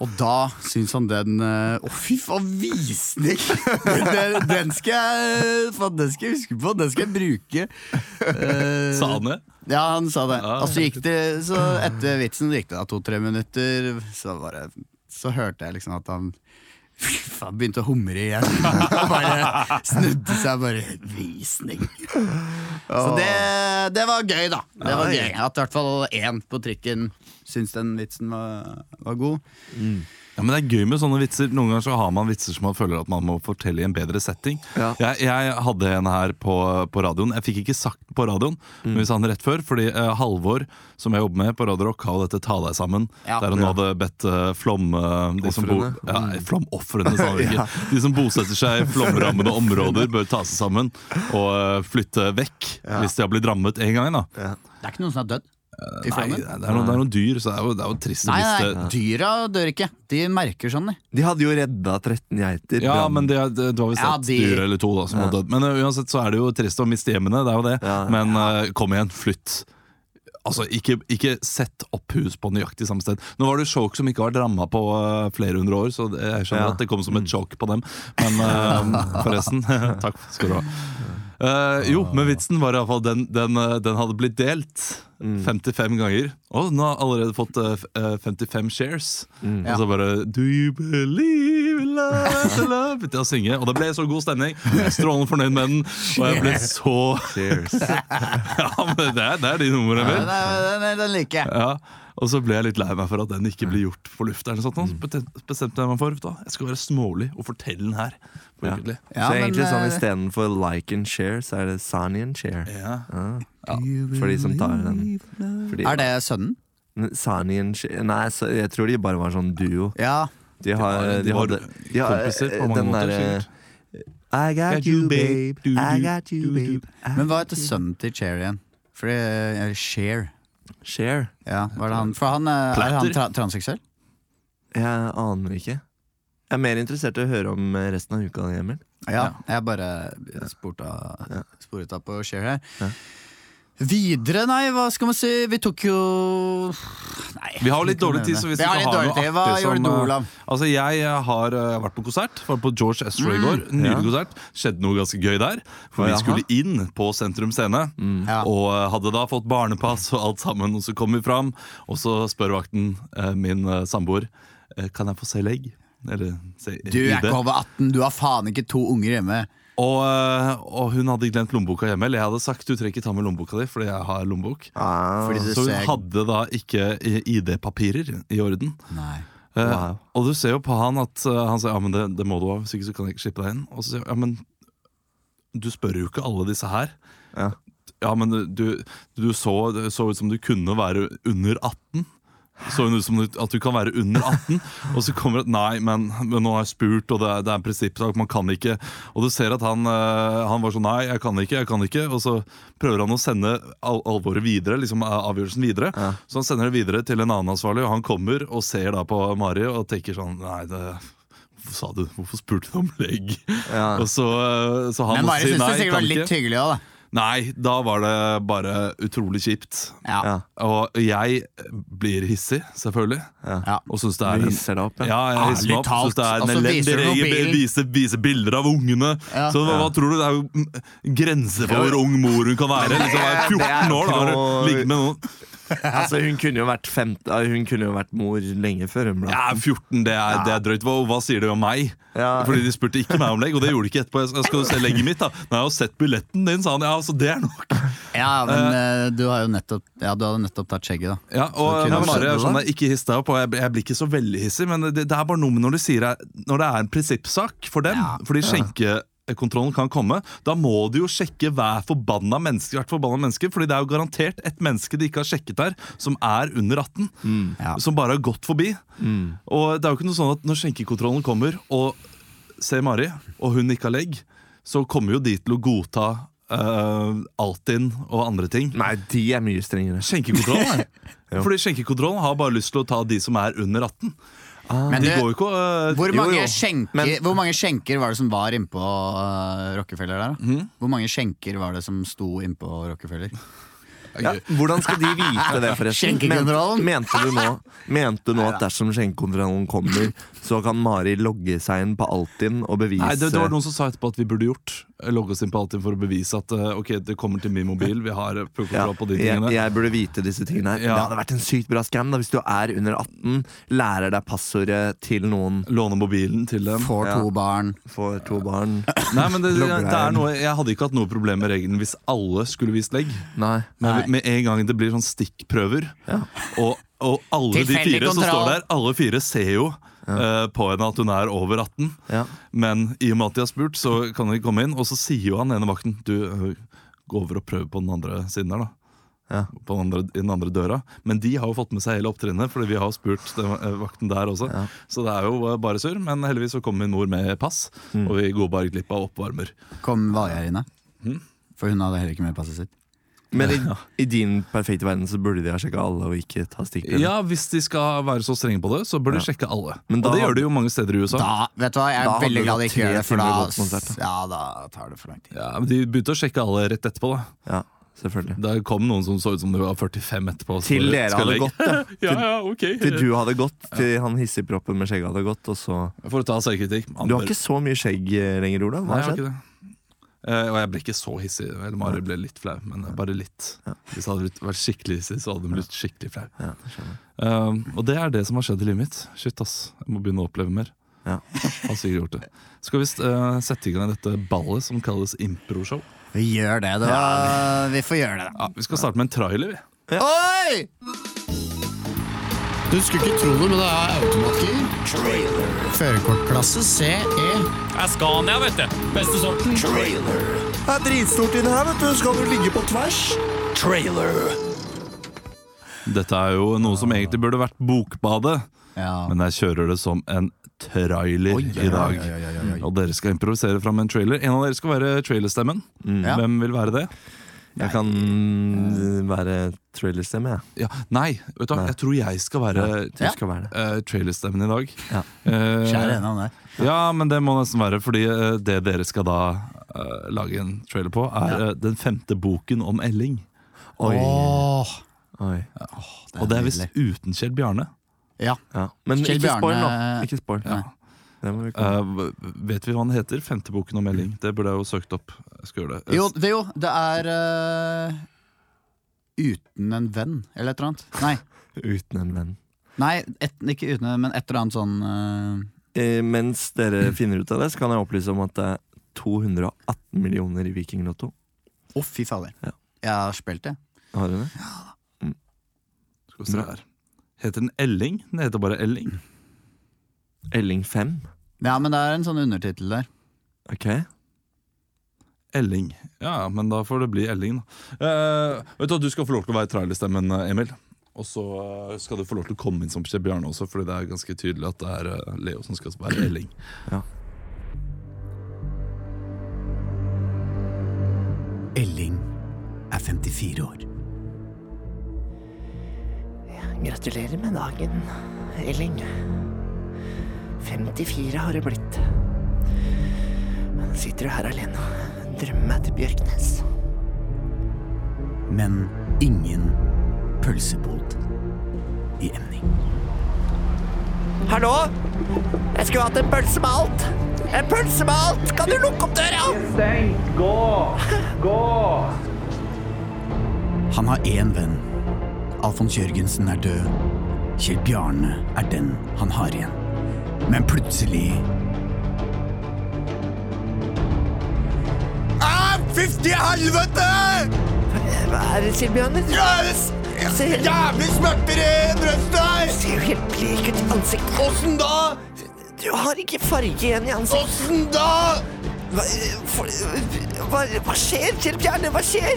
C: Og da syns han den eh, Å, fy faen, visning! Den, den, skal jeg, faen, den skal jeg huske på, den skal jeg bruke. Eh,
A: Sa han det?
C: ja, han sa det.
A: Ja.
C: Og så gikk det Så etter vitsen gikk det da to-tre minutter, så bare Så hørte jeg liksom at han Fy faen, begynte å humre igjen. Og bare snudde seg bare Visning. Så det, det var gøy, da. Det var gøy At i hvert fall én på trikken syntes den vitsen var, var god.
A: Ja, men Det er gøy med sånne vitser. Noen ganger så har man vitser som man føler at man må fortelle i en bedre setting.
B: Ja.
A: Jeg, jeg hadde en her på, på radioen. Jeg fikk ikke sagt den på radioen,
C: Mm.
A: men vi sa den rett før. Fordi eh, Halvor, som jeg jobber med på Radio Rock, har jo dette Ta deg sammen.
C: Ja. Mm.
A: Der han hadde bedt eh, flom... eh, de som bo,
B: Ofrene.
A: ja, flomofrene, sa han ikke. De som bosetter seg i flomrammede områder, bør ta seg sammen og eh, flytte vekk hvis de har blitt rammet en gang. da
C: Det er ikke noen som er dødd i
A: Nei,
C: flommen.
A: det er, noen, det er noen dyr, så det er jo, det er jo trist å
C: Nei,
A: miste
C: nei, dyra dør ikke. De merker sånn, de.
B: De hadde jo redda 13 geiter.
A: Ja,
B: Brann.
A: men det, det, det var visst
C: Ja,
A: ett
C: de-
A: dyr eller to da, som var dødd. Men uh, uansett så er det jo trist å miste hjemmene, det er jo det.
B: Ja.
A: Men uh, kom igjen, flytt. Altså, ikke, ikke sett opp hus på nøyaktig samme sted. Nå var det jo sjokk som ikke har vært ramma på uh, flere hundre år, så det- jeg skjønner
B: Ja. Mm.
A: at det kom som et sjokk på dem. Men uh, forresten, takk skal du ha. Uh, jo, men vitsen var iallfall den, den, uh, den hadde blitt delt 55 ganger. Og den har allerede fått uh, f- uh, 55 shares. Og så bare Do you believe in love? after love? Begynte jeg å synge, og det ble så god stemning. Jeg er strålende fornøyd med den. Og jeg ble så
B: Cheers.
A: Ja, men det er, det er de numrene,
C: Den,
A: vel?
C: den, den liker jeg.
A: Ja. Og så ble jeg litt lei meg for at den ikke ble gjort på lufta. eller sånt, nå. Så bestem- bestemte jeg meg for da. Jeg skal være smålig og fortelle den her. på
B: Ja.
A: Ukentlig.
C: Ja,
B: så
C: men,
B: egentlig sånn
C: eh,
B: istedenfor like and share, så er det sign and share.
A: Ja.
B: Ja. For de som tar den. Fordi,
C: Er det sønnen?
B: Sani and Share Nei, så, jeg tror de bare var sånn duo.
C: Ja.
B: De har eh,
A: var- de
B: de
A: var
B: hadde- de har,
A: kompiser på mange
B: eh, den
A: måter,
B: derre,
A: sikkert.
B: I got you, babe.
A: Du, du,
B: I got
A: du,
B: you,
A: du.
B: babe. I
C: Men hva heter sønnen til Cher igjen? Fordi eh, Cher
B: Share?
C: ja, hva er det han? For han eh, er han
A: Platter.
C: tra transseksuell?
B: Jeg aner ikke. Jeg er mer interessert i å høre om eh, resten av uka, Emil.
C: Ja, jeg bare spurte av, sporet av på Cher her. Videre, nei, hva skal man si? Vi tok jo Nei.
A: Vi har jo litt
C: vi kan
A: dårlig tid,
C: nevne.
A: så vi
C: har
A: skal
C: litt
A: ha
C: dårlig
A: noe
C: tid. Hva
A: artig
C: gjorde du,
A: som, eh,
C: Olav?
A: Altså, jeg eh, har eh, vært på konsert. Var på George Ezra i
C: Mm.
A: går. Nylig konsert. Skjedde noe ganske gøy der. For vi
B: Jaha.
A: skulle inn på Sentrum Scene.
C: Mm. Ja.
A: Og eh, hadde da fått barnepass og alt sammen, og så kom vi fram. Og så spør vakten eh, min eh, samboer eh, Kan jeg få se legg. Eller se
C: Du er
A: ID?
C: ikke over 18, du har faen ikke to unger hjemme.
A: Og, eh, og hun hadde glemt lommeboka hjemme. Eller jeg hadde sagt du trenger ikke ta med lommeboka di, fordi jeg har lommebok.
B: Ah,
C: Fordi du
A: Så hun
C: ser
A: hadde da ikke eh, i- ID-papirer i orden.
C: Nei.
A: Eh,
B: Wow.
A: Og du ser jo på han at eh, han sier ja, men det, det må du ha, hvis ikke så kan jeg ikke slippe deg inn. Og så sier jeg ja, men du spør jo ikke alle disse her.
B: Ja.
A: Ja, men du, du så, det så ut som du kunne være under 18. Så hun ut som du- at du kan være under 18, og så kommer det at nei, men, men nå har jeg spurt, og det er, det er en prinsippsak, man kan ikke. Og du ser at han, eh, han var sånn nei, jeg kan ikke, jeg kan ikke, og så prøver han å sende al alvoret videre, liksom eh, avgjørelsen videre. Så han sender det videre til en annen ansvarlig, og han kommer og ser da på Mari og tenker sånn nei, det Hvorfor sa du, hvorfor spurte du om legg?
B: Ja.
A: Og så, eh, så han
C: Men
A: må
C: bare
A: si
C: syns
A: nei,
C: det sikkert
A: kan
C: var
A: ikke.
C: litt hyggelig òg, da.
A: Nei, da var det bare utrolig kjipt.
C: Ja.
B: Ja.
A: Og jeg blir hissig, selvfølgelig.
C: Ja.
A: Og syns det er
B: Du
A: en
B: hisser deg opp,
A: ja,
B: ja.
A: jeg hisser meg
C: Ærlig
A: opp.
C: talt,
A: Synes det er en
C: Ah, altså, viser
A: elendig
C: du
A: regel.
C: mobilen?
A: Vise, vise bilder av ungene.
C: Ja.
A: Så hva, hva tror du? Det er jo mm, grenser for hvor ung mor hun kan være. Liksom, jeg er 14 år, da. har du ligget med noen
B: Altså, hun kunne jo vært, femte- ah, hun kunne jo vært mor lenge før hun ble
A: Ja, 14, det er, det er drøyt. Hva, hva sier det om meg?
B: Ja.
A: Fordi de spurte ikke meg om legg, og det gjorde de ikke etterpå. Jeg skal- skal du se legget mitt, da? Nei, jeg har sett billetten din, sa han. Ja, så det er nok.
C: Ja, men eh, du har jo nettopp, ja, du hadde nettopp tatt skjegget, da.
A: Ja, og
C: Så kunne
A: ja,
C: man
A: Mari
B: skjønne
A: er sånn,
B: det.
A: «Nei, ikke hiss deg opp, og jeg, jeg blir ikke så veldig hissig, men det, det er bare noe med når du sier det, når det er en prinsippsak for dem, fordi skjenkekontrollørene kontrollen kan komme, da må de jo sjekke hver forbanna menneske, hvert forbanna menneske, fordi det er jo garantert et menneske de ikke har sjekket der, som er under 18.
C: Mm, Ja. Mm.
A: Som bare har gått forbi. Og det er jo ikke noe sånn at når skjenkekontrollen kommer og ser Mari, og hun ikke har legg, så kommer jo de til å godta eh, Altinn og andre ting.
B: Nei, de er mye strengere.
A: Skjenkekontrollen, nei.
B: Jo.
A: Fordi skjenkekontrollen har bare lyst til å ta de som er under 18.
C: Men
B: Ah.
A: de
C: det-
A: går jo ikke å eh,
C: Hvor mange,
B: Jo, jo.
C: Skjenker,
B: Men-
C: hvor mange skjenker var det som var innpå uh, Rockefeller der? da? Hvor mange skjenker var det som sto innpå Rockefeller?
B: Ja, hvordan skal de vite det, forresten?
C: Skjenkekontrollen.
B: mente du nå, mente du nå at dersom skjenkekontrollen kommer, så kan Mari logge seg inn på Altinn og bevise
A: Nei, det, det var noen som sa etterpå at vi burde gjort eh, logge oss inn på Altinn for å bevise at eh, ok, det kommer til min mobil, vi har eh, full
B: ja,
A: kontroll på de
B: jeg,
A: tingene.
B: jeg burde vite disse tingene her.
A: Ja.
B: Det hadde vært en sykt bra scam da, hvis du er under 18, lærer deg passordet til noen
A: Låne mobilen til dem.
C: Får
B: Ja.
C: to barn.
B: for to barn.
A: Nei, men det,
B: Logger deg
A: det er
B: inn.
A: noe, Jeg hadde ikke hatt noe problem med regelen hvis alle skulle vist legg.
B: Nei.
A: Men
C: Nei.
A: med en gang det blir sånn stikkprøver, og, og alle de
C: Tilfeldig
A: fire som
C: kontroll.
A: står der, alle fire ser jo eh, på henne at hun er over 18.
B: Ja.
A: Men i og med at de har spurt, så kan de komme inn, og så sier jo han ene vakten Du, eh, gå over og prøv på den andre siden der, da.
B: Ja.
A: På den andre, I den andre døra. Men de har jo fått med seg hele opptrinnet, Fordi vi har jo spurt den eh, vakten der også. Så det er jo eh, bare surr. Men heldigvis så kom min mor med pass,
B: Mm.
A: og vi går bare glipp av oppvarmer.
C: Kom Valgjerina. For hun hadde heller ikke med passet sitt.
B: Men i, i din perfekte verden så burde de ha sjekka alle og ikke ta stikkprøver.
A: Ja, Hvis de skal være så strenge på det, så bør de sjekke alle.
B: Men da-
A: og det gjør de jo mange steder i USA.
C: Da, vet du hva,
B: Da
C: Jeg er
B: hadde
C: veldig
B: det
C: glad de
B: gått
C: ikke gjør det,
B: tre
C: for
B: timer godt
C: da,
B: konsert,
C: ja, da tar det for lang tid.
A: Ja, men De begynte å sjekke alle rett etterpå. da
B: Ja, selvfølgelig.
A: Det kom noen som så ut som de var 45 etterpå. så
B: Til
A: de
B: dere
A: skal
B: hadde
A: legge.
B: gått, da.
A: Ja, ja, ok
B: Til du hadde gått, til han hissigproppen med skjegget hadde gått, og så
A: For å ta selvkritikk. man
B: Du har
A: bør-
B: ikke så mye skjegg eh, lenger, Ola.
A: Nei,
B: Hva
A: jeg
B: har
A: har
B: skjedd?
A: ikke det. Eh, og jeg ble ikke så hissig. Eller Mari ble litt flau, men bare litt. Hvis jeg hadde blitt- vært skikkelig hissig, så hadde hun blitt skikkelig flau.
B: Ja, det skjønner jeg.
A: Eh, og det er det som har skjedd i livet mitt. Shit, ass. Jeg må begynne å oppleve mer.
B: Ja.
A: Har sikkert gjort det. Skal vi eh, sette i gang dette ballet som kalles improshow?
C: Vi gjør det, da. Vi får gjøre det, da.
A: Ja, vi skal starte med en trailer, vi.
C: Oi! Du skulle ikke tro det, men det er automatgir. Førerkortklasse E. CE.
D: er Scania, vet du. Beste sorten.
B: Det er dritstort inni her, vet du. Skal du ligge på tvers?
A: Dette er jo noe
B: Ah.
A: som egentlig burde vært Bokbadet,
C: Ja.
A: men jeg kjører det som en trailer
C: Oi, oi,
A: i dag. Mm.
C: oi, oi, oi, oi.
A: Og dere skal improvisere fram en trailer. En av dere skal være trailerstemmen.
C: Ja.
A: Hvem vil være det?
B: Jeg kan eh, være trailerstemme, jeg.
A: Ja. Nei, vet du, hva,
B: Nei.
A: jeg tror jeg skal være
B: Du skal være det.
A: eh, trailerstemmen i dag.
B: Ja.
A: Eh,
C: Kjære en av deg.
A: ja, men det må nesten være, fordi eh, det dere skal da eh, lage en trailer på, er eh, den femte boken om Elling.
B: Oi.
C: Åh,
B: Oi.
C: det
A: Og det er visst
C: nydelig.
A: uten Kjell Bjarne.
C: Ja.
B: Ja. Men
C: Kjell
B: ikke spoil nå.
C: Bjarne-
B: Ikke spoil.
C: Nei.
B: Det må vi komme.
A: Eh, v- vet vi hva den heter? Femte boken om Elling. Det burde jeg jo søkt opp. Jeg skal gjøre det.
C: Jo, det, jo, det er eh, Uten en venn, eller et eller annet. Nei,
B: Uten en venn.
C: Nei et, ikke uten en, men et eller annet sånn eh,
B: Eh, mens dere finner ut av det, så kan jeg opplyse om at det er 218 millioner i Vikinglotto.
C: Å, fy fader.
B: Ja.
C: Jeg har spilt det.
B: Har du det?
A: Skal vi se her. Heter den Elling? Den heter bare Elling.
B: Elling 5.
C: Ja, men det er en sånn undertittel der.
B: Ok.
A: Elling. Ja, men da får det bli Elling, da. Eh, vet Du hva, du skal få lov til å være trailerstemmen, eh, Emil. Og så eh, skal du få lov til å komme inn som Kjell Bjarne også, fordi det er ganske tydelig at det er eh, Leo som skal være Elling.
C: Elling er 54 år.
E: Gratulerer med dagen, Elling. 54 har du blitt. Men sitter du her alene og drømmer meg til Bjørknes?
C: Men ingen pølsebod i emning.
E: Hallo? Jeg skulle hatt en pølse med alt! En pølse med alt! Kan du lukke opp døra?
C: Han har én venn. Alfons Jørgensen er død. Kjell Bjarne er den han har igjen. Men plutselig ah, Fytti helvete!
E: Hva er det, Silbjørn?
C: Jeg er
E: Ser,
C: jævlig smerter i brystet!
E: ser jo helt blek ut i ansiktet.
C: Åssen da?
E: Du har ikke farge igjen i ansiktet.
C: Åssen da?
E: Hva, for- hva, hva skjer, Kjell Bjarne? Hva skjer?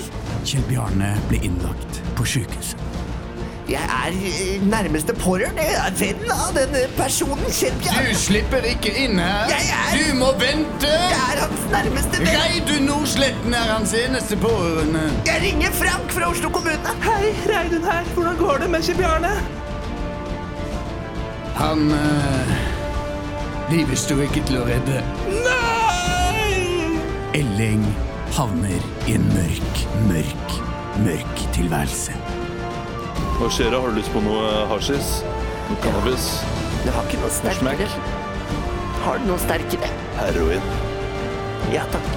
C: Kjell Bjarne ble innlagt på sykehuset.
E: Jeg er eh, nærmeste pårørende. Jeg er venn av den eh, personen, Kjell Bjarne.
C: slipper ikke inn her!
E: Jeg er-
C: Du må vente!
E: Jeg er hans nærmeste venn.
C: Reidun Nordsletten er hans eneste pårørende.
E: Jeg ringer Frank fra Oslo kommune.
F: Hei, Reidun her. Hvordan går det med Kjell Bjarne?
C: Han uh, Livet sto ikke til å redde.
F: Nei!
C: Elling havner i en mørk, mørk, mørk tilværelse.
A: Hva skjer da? Har du lyst på noe hasjis? Noe cannabis?
E: Du har ikke noe sterkere. Har du noe sterkere?
A: Heroin?
E: Ja takk.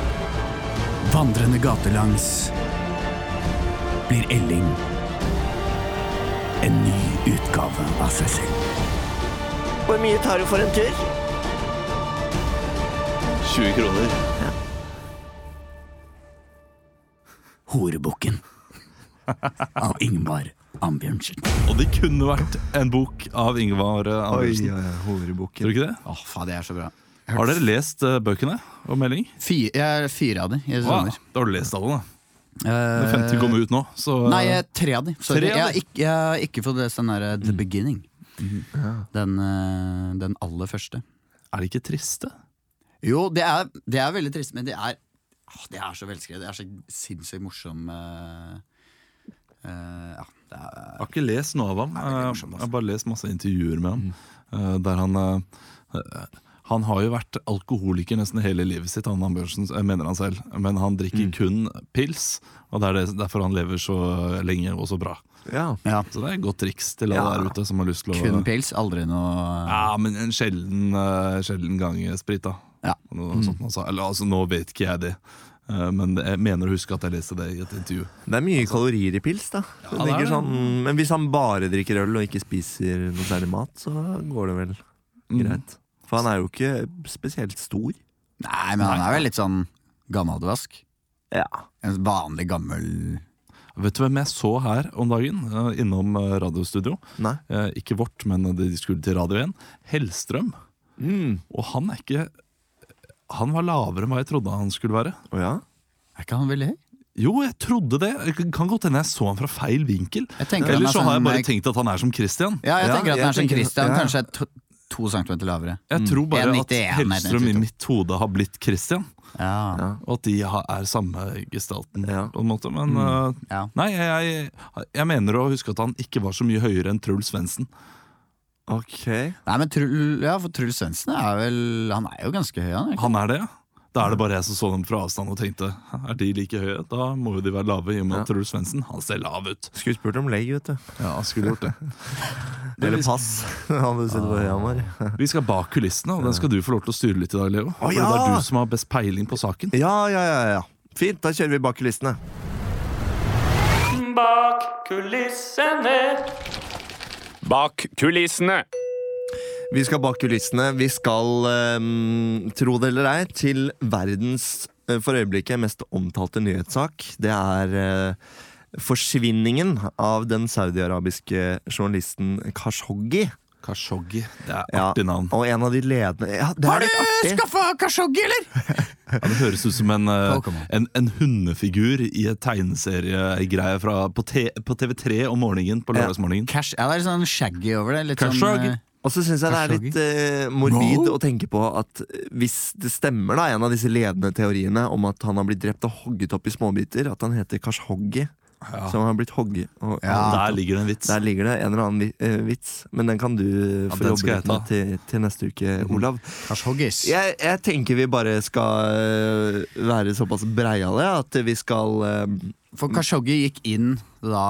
C: Vandrende gatelangs blir Elling en ny utgave av seg selv.
E: Hvor mye tar du for en tur?
A: 20 kroner.
C: Horebukken av Ingmar Ambjørnsen.
A: Og det kunne vært en bok av Ingvar eh,
B: Oi,
A: Andersen.
B: oi, oi,
A: Tror
B: horebukken.
A: du ikke det?
C: Åh, faen, det er så bra.
A: Har dere lest eh, bøkene om melding?
C: Fire, jeg er fire av de. Jeg
A: Wow,
C: savner.
A: da har du lest alle, da.
C: Eh,
A: Den femte kom ut nå, så eh,
C: Nei, eh, tre av de. Sorry.
A: Tre av
C: Jeg, har
A: de? Mm.
C: ikke, jeg har ikke fått lest den der eh, The Beginning.
A: Mm-hmm.
C: Den, eh, den aller første.
A: eh, er de ikke triste?
C: Jo, det er, det er veldig trist, men det er, åh, det er så velskrevet. Det er så sinnssykt morsom eh, eh, Ja, det er
A: Jeg har ikke lest noe av ham.
C: det er morsomt,
A: Eh,
C: altså. Mm.
A: Jeg har bare lest masse intervjuer med ham. eh, Der han eh, Han har jo vært alkoholiker nesten hele livet sitt, han Ambjørnsen, eh, mener han selv. Men han drikker
C: Mm.
A: kun pils, og det er det- derfor han lever så lenge og så bra.
B: Ja.
C: ja,
A: Så det er et godt triks til alle
B: Ja.
A: der ute som har lyst til å
C: Kun pils, aldri noe
A: Ja, men en sjelden, eh, sjelden gang sprit, da.
C: Ja. Mm.
A: Noe sånt han sa. Eller altså, nå vet ikke jeg det. Eh, Men jeg mener å huske at jeg leste det i et intervju.
B: Det er mye kalorier i pils, da. Jeg
A: det er
B: tenker
A: det.
B: sånn, men hvis han bare drikker øl og ikke spiser noe særlig mat, så går det vel greit. For han er jo ikke spesielt stor.
C: Nei, men han er vel litt sånn gammelvask.
B: Ja.
C: En vanlig gammel
A: Vet du hvem jeg så her om dagen? eh, Innom eh, radiostudio.
B: Nei.
A: Eh, Ikke vårt, men de skulle til Radio 1. Hellstrøm.
B: Mm.
A: Og han er ikke Han var lavere enn hva jeg trodde han skulle være.
B: Å ja?
C: Er ikke han veldig høy?
A: Jo, jeg trodde det. Det Kan godt hende jeg så han fra feil vinkel.
C: Jeg tenker han er
A: Eller så har jeg
C: sånn-
A: bare tenkt at han er som Christian.
C: Ja, jeg
B: Ja,
C: tenker at
B: jeg
C: han er som
B: tenker-
C: Christian.
B: ja.
C: Kanskje to, to centimeter lavere.
A: Jeg tror bare at
C: 1,91,
A: Hellstrøm i
C: 1,92.
A: mitt hode har blitt Christian.
C: Ja,
A: Og at de har- er samme gestalten,
B: Ja.
A: på en måte. Men eh,
C: ja.
A: nei, jeg, jeg, jeg mener å huske at han ikke var så mye høyere enn Truls Svendsen.
B: Ok.
C: Nei, men Truls ja, for Truls Svendsen er vel Han er jo ganske høy, han. er ikke?
A: Han er det, ja. Da er det bare jeg som så dem fra avstand og tenkte er de like høye? Da må jo de være lave, i og med at Truls Svendsen han ser lav ut.
B: Skulle spurt om legg, vet du.
A: Ja, han skulle gjort det.
B: Eller pass. Han du sett på høya vår.
A: Vi skal bak kulissene, og den skal du få lov til å styre litt i dag, Leo. For
B: ja!
A: det er du som har best peiling på saken.
B: Ja, ja, ja, ja. Fint, da kjører vi bak kulissene.
F: Bak kulissene.
D: Bak kulissene.
B: Vi skal bak kulissene. Vi skal, ehm, tro det eller ei, til verdens eh, for øyeblikket mest omtalte nyhetssak. Det er eh, forsvinningen av den saudiarabiske journalisten Khashoggi.
A: Kashoggi. Det er
B: Ja,
A: artig navn.
B: Og en av de ledende ja, det er litt artig.
C: skaffa Kashoggi, eller?
A: Ja, det høres ut som en, eh,
C: Pokémon.
A: en, en hundefigur i et tegneseriegreie fra- på, T- på TV3 om morgenen på lørdagsmorgenen.
C: Cash, ja, det er sånn shaggy over det. Litt
A: Khashoggi.
C: sånn eh,
B: Og så syns jeg det er
C: Khashoggi.
B: litt eh, morbid
C: Wow.
B: å tenke på at eh, hvis det stemmer, da, en av disse ledende teoriene om at han har blitt drept og hogget opp i småbiter, at han heter Kashoggi, som har blitt hogget og,
C: Ja.
A: Der ligger det en vits.
B: Der ligger det en eller annen vi- eh, vits, men den kan du eh, få
A: den
B: jobbe
A: skal jeg
B: litt med
A: ta. Mhm.
B: til, til neste uke, Olav.
C: Kashoggis.
B: Jeg, jeg tenker vi bare skal eh, være såpass breiale at vi skal eh,
C: For Kashoggi gikk inn da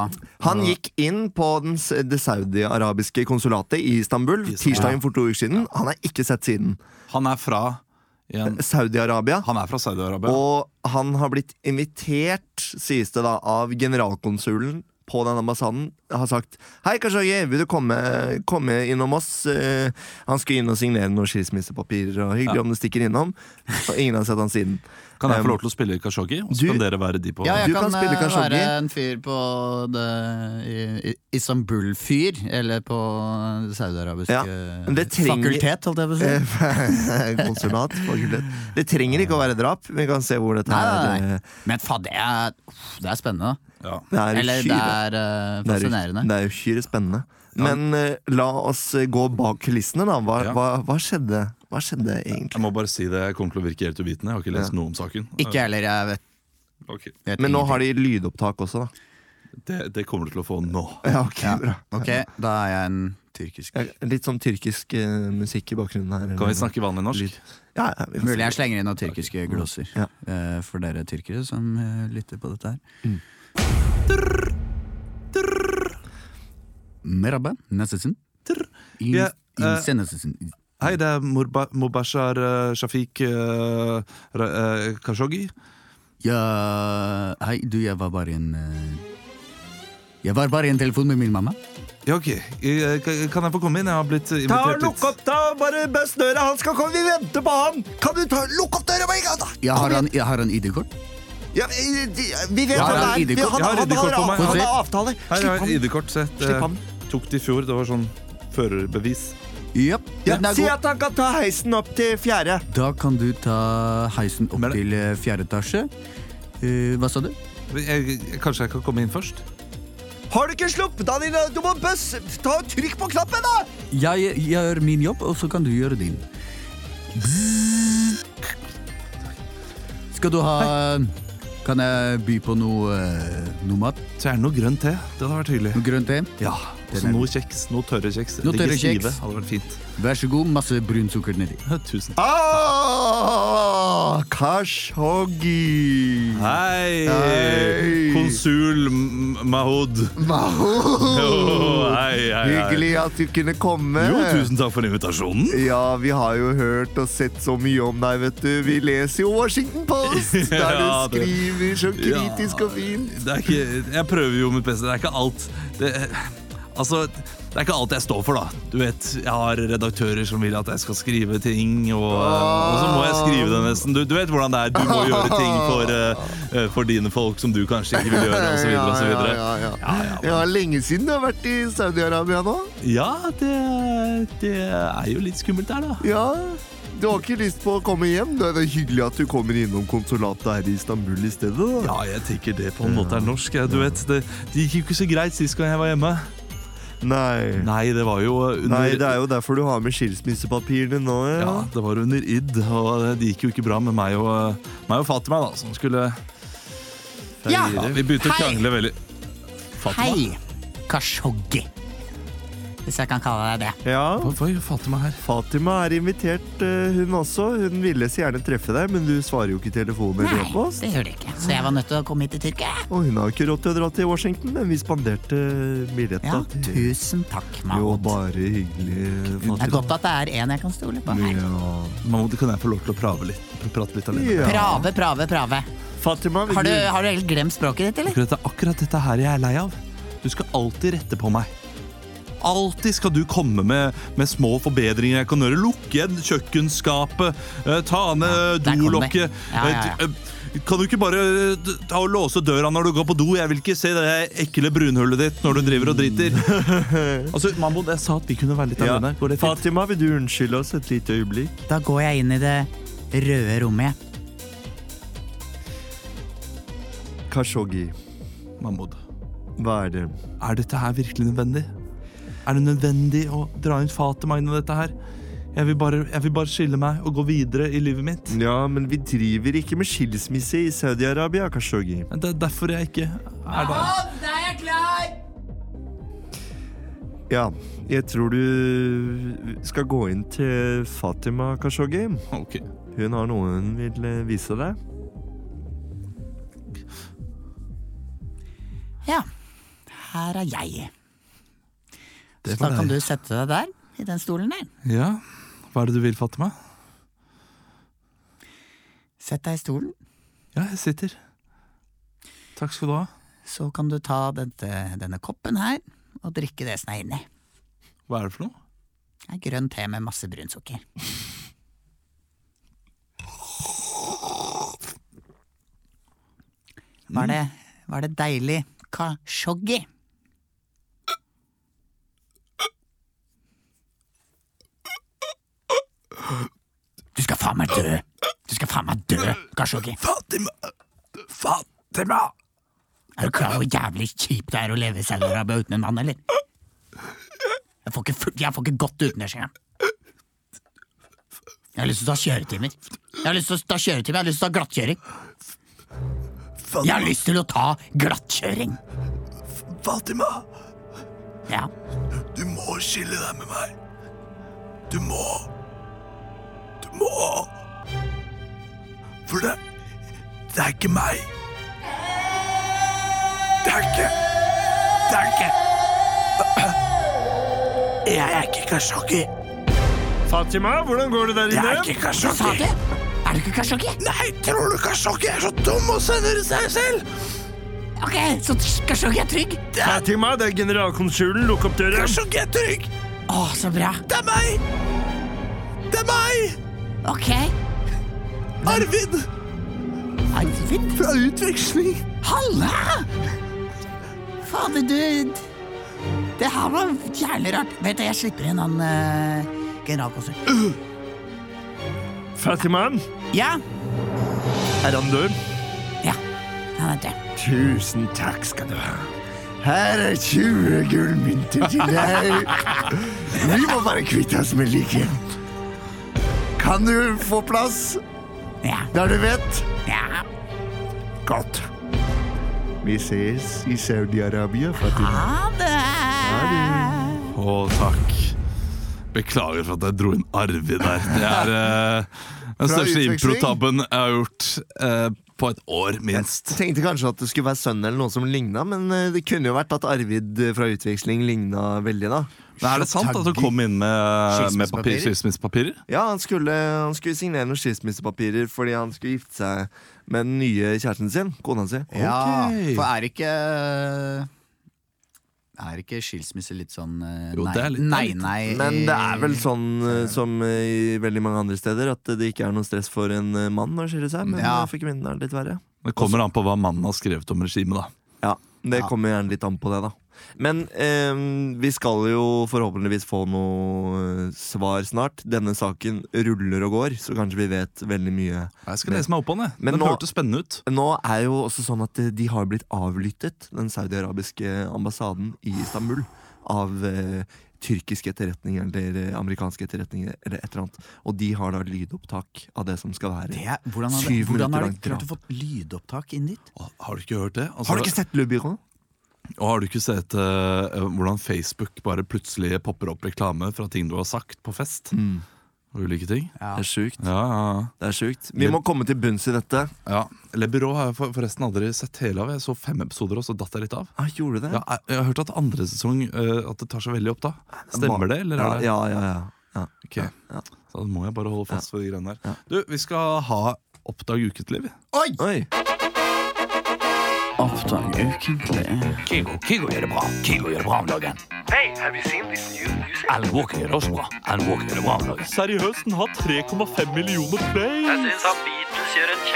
B: Han gikk inn på den, s- det saudi-arabiske konsulatet i Istanbul tirsdagen for to uker siden. Han er ikke sett siden.
A: Han er fra igjen,
B: Saudi-Arabia.
A: Han er fra Saudi-Arabia.
B: Og han har blitt invitert, sies det da, av generalkonsulen på den ambassaden har sagt Hei, Kashage, vil du komme, komme innom oss? Eh, han skulle inn og signere noen skilsmissepapirer, og hyggelig om du stikker innom. Og ingen har sett han siden.
A: Kan jeg
B: Um,
A: få lov til å spille Kashoggi? Og
B: du-
A: spendere været de på?
C: Ja, jeg
B: Du
C: kan,
B: kan spille
C: eh,
B: Khashoggi.
C: være en fyr på det, i- i- Istanbul-fyr, eller på det saudiarabiske
B: Ja, men det trenger-
C: fakultet, holdt jeg på å si.
B: Eh, Konsulat. fakultet. Det trenger ikke å være drap. Vi kan se hvor dette
C: Nei,
B: her
C: nei, nei.
B: eh,
C: Men faen, det er, uff, det er spennende.
A: Ja.
B: Det er
C: Eller det
B: uhyre.
C: er eh,
B: Det er u-
C: fascinerende.
B: Det er uhyre spennende. Men eh, la oss eh, gå bak kulissene, da. Hva,
A: Ja.
B: hva, hva skjedde? Hva skjedde egentlig?
A: Jeg må bare si det, jeg kommer til å virke helt uvitende. Jeg har ikke lest noe om saken. Eh,
C: Ikke jeg heller, jeg vet,
A: Ok.
C: vet
B: Men nå
C: ingenting.
B: har de lydopptak også, da.
A: Det, det kommer du til å få nå.
B: Ja, ok, bra.
C: Ok, da er jeg en tyrkisk.
B: Ja, Litt sånn tyrkisk eh, musikk i bakgrunnen her.
A: Kan vi snakke vanlig norsk?
B: Ja, ja, vi kan
C: Mulig jeg
B: snakke.
C: slenger inn noen tyrkiske glosser
B: Ja.
C: eh, for dere tyrkere som eh, lytter på dette her.
B: Mm.
C: Merhaba, nesesin. In-
A: Ja, eh,
C: inse nesesin.
A: Hei, det er Murba- Mubashar eh, Shafiq eh, Ra- eh, Khashoggi.
C: Ja, hei, du, jeg var bare i en eh, Jeg var bare i en telefon med min mamma.
A: Ja, ok. Eh, ka- Kan jeg få komme inn? Jeg har blitt eh,
B: Ta
A: invitert
B: Lukk opp, ta bare bøst døra! Han skal komme, vi venter på han! Kan du ta, Lukk opp døra med en gang, da!
C: Jeg har en, jeg har en ID-kort.
B: Ja, vi vi vet
C: Jeg har
B: hvem det er!
C: ID-kort.
B: Vi- han-
A: Jeg har
B: han-
A: ID-kort på meg.
B: Han han har
C: Få
B: avtale!
A: Her
B: Slipp
A: har
B: ham.
A: jeg ID-kort. Sett.
B: Slipp ham.
A: Tok det i fjor. Det var sånn førerbevis.
C: Japp,
B: Ja,
C: den er
B: si
C: god.
B: at han kan ta heisen opp til fjerde.
C: Da kan du ta heisen opp
A: Men-
C: til eh, fjerde etasje. Eh, hva sa du?
A: Jeg, jeg- kanskje jeg kan komme inn først?
B: Har du ikke sluppet han inn? Du må bøss! Ta og Trykk på knappen, da!
C: Jeg gjør min jobb, og så kan du gjøre din. Skal du ha Kan jeg by på noe, eh, noe mat?
A: Så er det noe grønn te. Det hadde vært hyggelig.
C: Noe grønt te?
A: Ja,
C: den
A: så
C: er-
A: noe kjeks. Noe tørre kjeks.
C: Noe
A: Ikke
C: tørre
A: stive.
C: kjeks.
A: Hadde vært fint.
C: Vær så god, masse brun sukker nedi.
A: Tusen takk.
B: Ah, Kashoggi.
A: Hei!
B: Hei.
A: Konsul M- Mahoud. Åh, hei, hei, hei.
B: Hyggelig at du kunne komme.
A: Jo, tusen takk for invitasjonen.
B: Ja, vi har jo hørt og sett så mye om deg, vet du. Vi leser jo Washington Post, der du
A: Ja, det-
B: skriver så kritisk og fint.
A: Det er ikke, jeg prøver jo mitt beste. Det er ikke alt det, Altså, det er ikke alt jeg står for, da. Du vet, Jeg har redaktører som vil at jeg skal skrive ting, og, og så må jeg skrive det nesten. Du, du vet hvordan det er. Du må gjøre ting for, eh, eh, for dine folk som du kanskje ikke vil gjøre, osv.
B: Ja, ja,
A: Ja,
B: ja, ja. Ja, lenge siden du har vært i Saudi-Arabia nå.
A: ja det, det er jo litt skummelt der, da.
B: Ja, Du har ikke lyst på å komme hjem? Det er hyggelig at du kommer innom konsulatet her i Istanbul i stedet. da.
A: Ja, jeg tenker det på en måte er norsk. jeg. Du vet, Det, det gikk jo ikke så greit sist gang jeg var hjemme.
B: Nei.
A: Nei, Mm. det var jo under
B: Nei, det er jo derfor du har med skilsmissepapirene nå.
A: Ja, det var under id, og det gikk jo ikke bra med meg og, meg og Fatima, da, som skulle
C: Ja,
A: Ja, Vi begynte å krangle veldig. Fatima?
G: Hei, Kashoggi. Hvis jeg kan kalle deg det.
B: Ja.
A: Hva, hva gjør Fatima her?
B: Fatima er invitert, eh, hun også. Hun ville så gjerne treffe deg, men du svarer jo ikke telefonen eller på oss.
G: det gjør du ikke. Så jeg var nødt til å komme hit til Tyrkia.
B: Og hun har jo ikke råd til å dra til Washington, men vi spanderte billetta
G: Ja,
B: til
G: tusen takk,
B: Jo,
G: Mahmoud.
B: bare hyggelig,
G: Det er
B: Fatima.
G: godt at det er en jeg kan stole på her.
B: Ja.
A: Mahmoud, kan jeg få lov til å prave litt, prate litt alene?
B: Ja.
G: Prave, prave, prave.
B: Fatima, vil
G: Har du,
B: du
G: har du helt glemt språket ditt, eller?
A: Akkurat, det er akkurat dette her jeg er lei av. Du skal alltid rette på meg. Alltid skal du komme med, med små forbedringer jeg kan gjøre. Lukke igjen kjøkkenskapet, eh, ta ned
G: der kom det.
A: dolokket.
G: Ja, ja, ja.
A: eh, d- eh, Kan du ikke bare eh, d- ta og låse døra når du går på do? Jeg vil ikke se det ekle brunhullet ditt når du driver og driter. altså, Mahmoud, jeg sa at vi kunne være litt
B: Ja.
A: alene. Går det fint?
B: Fatima, vil du unnskylde oss et lite øyeblikk?
G: Da går jeg inn i det røde rommet. jeg.
B: Kashoggi,
A: Mahmoud,
B: hva er det?
A: er dette her virkelig nødvendig? Er det nødvendig å dra inn Fatima inn i dette her? Jeg vil, bare, jeg vil bare skille meg og gå videre i livet mitt.
B: Ja, men vi driver ikke med skilsmisse i Saudi-Arabia, Kashoggi.
A: Men Det er derfor jeg ikke er der.
G: Da er jeg klar!
B: Ja, jeg tror du skal gå inn til Fatima, Kashoggi.
A: Ok.
B: Hun har noe hun vil eh, vise deg.
G: Ja, her er jeg.
A: Det
G: Så da
A: var deg.
G: kan du sette deg der, i den stolen der.
A: Ja. Hva er det du vil, Fatima?
G: Sett deg i stolen,
A: Ja, jeg sitter. Takk skal du ha.
G: så kan du ta dette, denne koppen her. og drikke det som er inni.
A: Hva er det for noe?
G: Det er grønn te med masse brunsukker. Var det, var det deilig kashoggi? Du skal faen meg dø! Du skal faen meg dø, kashoggi!
A: Fatima! Fatima!
G: Er du klar over hvor jævlig kjipt det er å leve i Saudi-Arabia uten en mann, eller? Jeg får ikke, fu- jeg får ikke godt uten det, skjønner jeg. Jeg har lyst til å ta kjøretimer. Jeg har lyst til å ta kjøretimer, jeg har lyst til å ta glattkjøring. Jeg har lyst til å ta glattkjøring.
A: Fatima!
G: Ja,
A: Du må skille deg med meg. Du må. Du må. For det Det er ikke meg. Det er ikke Det er ikke Jeg er ikke Kashoggi.
D: Fatima, hvordan går det der
A: Jeg er ikke
G: ta
A: Kashoggi.
G: det. Er du ikke Kashoggi?
A: Nei, tror du Kashoggi er så dum og sender seg selv?
G: Ok, så Kashoggi er trygg?
D: Fatima, det er generalkonsulen. Lukk opp døra.
A: Kashoggi er trygg.
G: Å, så bra.
A: Det er meg. Det er meg.
G: Ok.
A: Arvid
G: Arvid?
B: Fra utveksling!
G: Halla! Fader, du Det her var jævlig rart. Vet du, jeg slipper inn han uh, generalkonsul.
D: Fatima,
G: Ja?
D: er han død?
G: Ja. Han er død.
B: Tusen takk skal du ha. Her er 20 gullmynter til deg. Vi må bare kvitte oss med liket. Kan du få plass
G: Ja.
B: der du vet?
G: ja.
B: Godt. Vi ses i Saudi-Arabia, Fatima.
G: Ha det!
A: Å, takk. Beklager for at jeg dro inn Arvid der. Det er eh, den
B: Fra
A: største
B: utveksling.
A: improtabben jeg har gjort eh, på et år, minst.
B: Tenkte kanskje at det skulle være sønnen eller noen som ligna, men eh, det kunne jo vært at Arvid eh, fra utveksling ligna veldig, da.
A: Men er det sant at du kom inn med, med papir, skilsmissepapirer?
B: Ja, han skulle, han skulle signere noen skilsmissepapirer fordi han skulle gifte seg med den nye kjæresten sin, kona si.
C: Ja,
A: Ah, Ok.
C: for er ikke Er ikke skilsmisse litt sånn eh,
A: Jo,
C: nei,
A: det er litt-
C: nei,
A: det er litt-
C: nei
B: Men det er vel sånn eh, som eh, i veldig mange andre steder, at det ikke er noe stress for en eh, mann å skille seg. Men
C: Ja.
B: eh, for kvinner er det litt verre.
A: Det kommer an på hva mannen har skrevet om regimet, da.
B: Ja, Det kommer gjerne litt an på det, da. Men eh, vi skal jo forhåpentligvis få noe eh, svar snart. Denne saken ruller og går, så kanskje vi vet veldig mye.
A: Jeg skal lese meg opp på den.
B: Men
A: Den
B: nå-
A: hørtes spennende ut.
B: Nå er jo også sånn at eh, de har blitt avlyttet, den saudiarabiske ambassaden i Istanbul, av eh, tyrkisk etterretning eller eh, amerikansk etterretning eller et eller annet. Og de har da lydopptak av det som skal være
C: det er, Hvordan har de,
B: Syv
C: hvordan har
B: minutter langt
C: de klart å
B: drap.
C: få lydopptak inn dit?
A: Å, Har du ikke hørt det? Altså,
B: Har du ikke sett Le Bureau?
A: Og har du ikke sett eh, hvordan Facebook bare plutselig popper opp reklame fra ting du har sagt på fest? Ulike ting. Mm. Ja,
B: Det er sjukt.
A: ja, ja.
B: Det er sjukt. Vi må komme til bunns i dette.
A: Ja, Le Bureau har jeg for- forresten aldri sett hele av. Jeg så fem episoder, og så datt jeg litt av.
B: Ah, gjorde du det?
A: Ja, jeg, jeg har hørt at andre sesong eh, At det tar seg veldig opp, da. Stemmer det, eller?
B: Ja,
A: Er det?
B: ja, ja, ja. ja.
A: Ok.
B: ja.
A: Så da må jeg bare holde fast ved de greiene der. Du, vi skal ha Oppdag ukentlig, vi.
B: Oi!
A: Seriøst, den har 3,5 millioner play!
F: syns han Beatles gjør en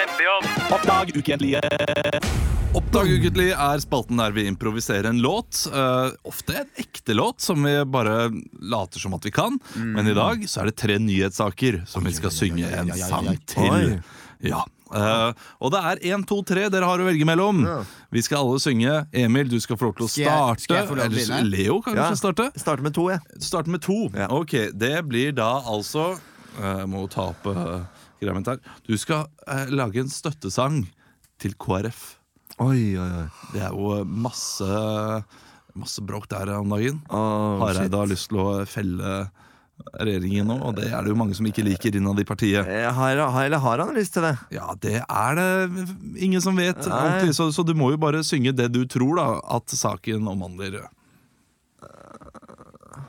F: kjempejobb.
A: Oppdag ukentlig er spalten der vi improviserer en låt. eh, ofte en ekte låt som vi bare later som at vi kan. Men
C: Mm.
A: i dag så er det tre nyhetssaker som vi skal synge en sang til.
B: Oi.
A: Ja. eh, og det er én, to, tre dere har å velge mellom. Vi skal alle synge. Emil, du skal få lov til å
C: Skal jeg-
A: starte.
C: skal jeg få lov til å
A: Ellers
C: begynne?
A: Leo kan
B: Ja.
A: kanskje starte.
B: Starter med to, jeg.
A: Starte med to.
B: Ja.
A: Ok, Det blir da altså Jeg Må ta opp eh, greia mitt her. Du skal eh, lage en støttesang til KrF.
B: Oi, oi, oi.
A: Det er jo masse Masse bråk der om dagen.
B: Åh, shit.
A: Hareide har lyst til å felle regjeringen nå, og det er det jo mange som ikke liker innad i partiet.
B: Eh, Har, har, eller har han lyst til det?
A: Ja, det er det ingen som vet
B: Nei.
A: ordentlig, så, så du må jo bare synge det du tror da at saken omhandler.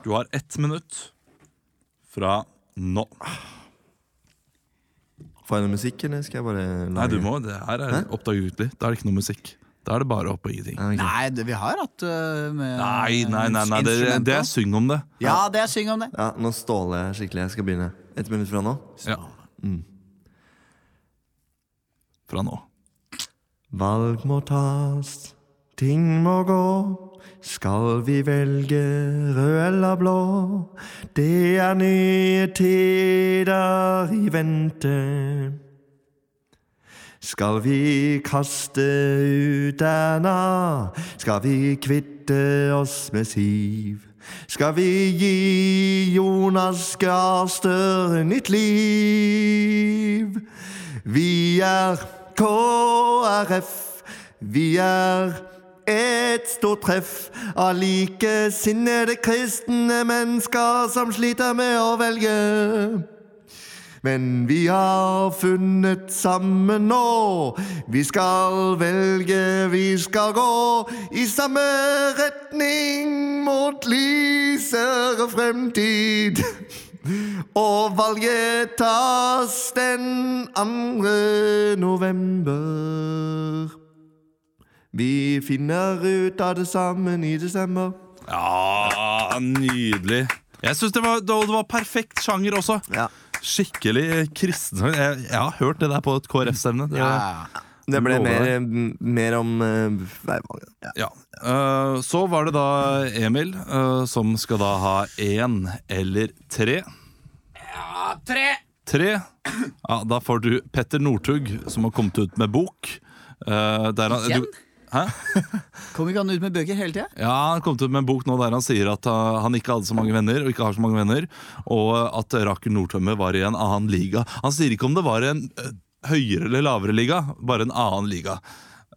A: Du har ett minutt fra nå.
B: Får jeg noe musikk, eller skal jeg bare
A: Nei,
B: lage
A: du må. Det her er oppdag ukentlig. Da er det ikke noe musikk. Da er det bare opp og ingenting.
C: Nei, det, vi har hatt øh, med
A: Nei, nei, nei, nei det,
C: instrument
A: det
C: på.
A: er syng om det.
C: Ja, det er syng om det.
B: Ja, nå ståler jeg skikkelig. Jeg skal begynne. Ett minutt fra nå.
A: Ja. Mm. Fra nå.
B: Valg må tas, ting må gå. Skal vi velge rød eller blå? Det er nye tider i vente. Skal vi kaste ut Erna? Skal vi kvitte oss med Siv? Skal vi gi Jonas Gahr Støre nytt liv? Vi er KrF, vi er et stort treff av likesinnede kristne mennesker som sliter med å velge. Men vi har funnet sammen nå. Vi skal velge, vi skal gå i samme retning mot lysere fremtid. Og valget tas den 2. november. Vi finner ut av det sammen i desember.
A: Ja, nydelig. Jeg syns det, var- det var perfekt sjanger også.
B: Ja,
A: Skikkelig kristen jeg, jeg har hørt det der på et KrF-stevne. Det-
B: Det ble
A: Lover
B: mer, mer om eh, veivalget.
A: Ja.
B: Ja.
A: Eh, så var det da Emil, eh, som skal da ha én eller tre. Ja, tre. Tre. Ja, da får du Petter Northug, som har kommet ut med bok. Eh, der han,
C: Igjen?
A: du, hæ?
C: Kom ikke han ut med bøker hele tida?
A: Ja, Han kom ut med en bok nå der han sier at uh, han ikke hadde så mange venner, og ikke har så mange venner, og at Rakel Nordtømme var i en annen liga. Han sier ikke om det var en uh, høyere eller lavere liga, bare en annen liga.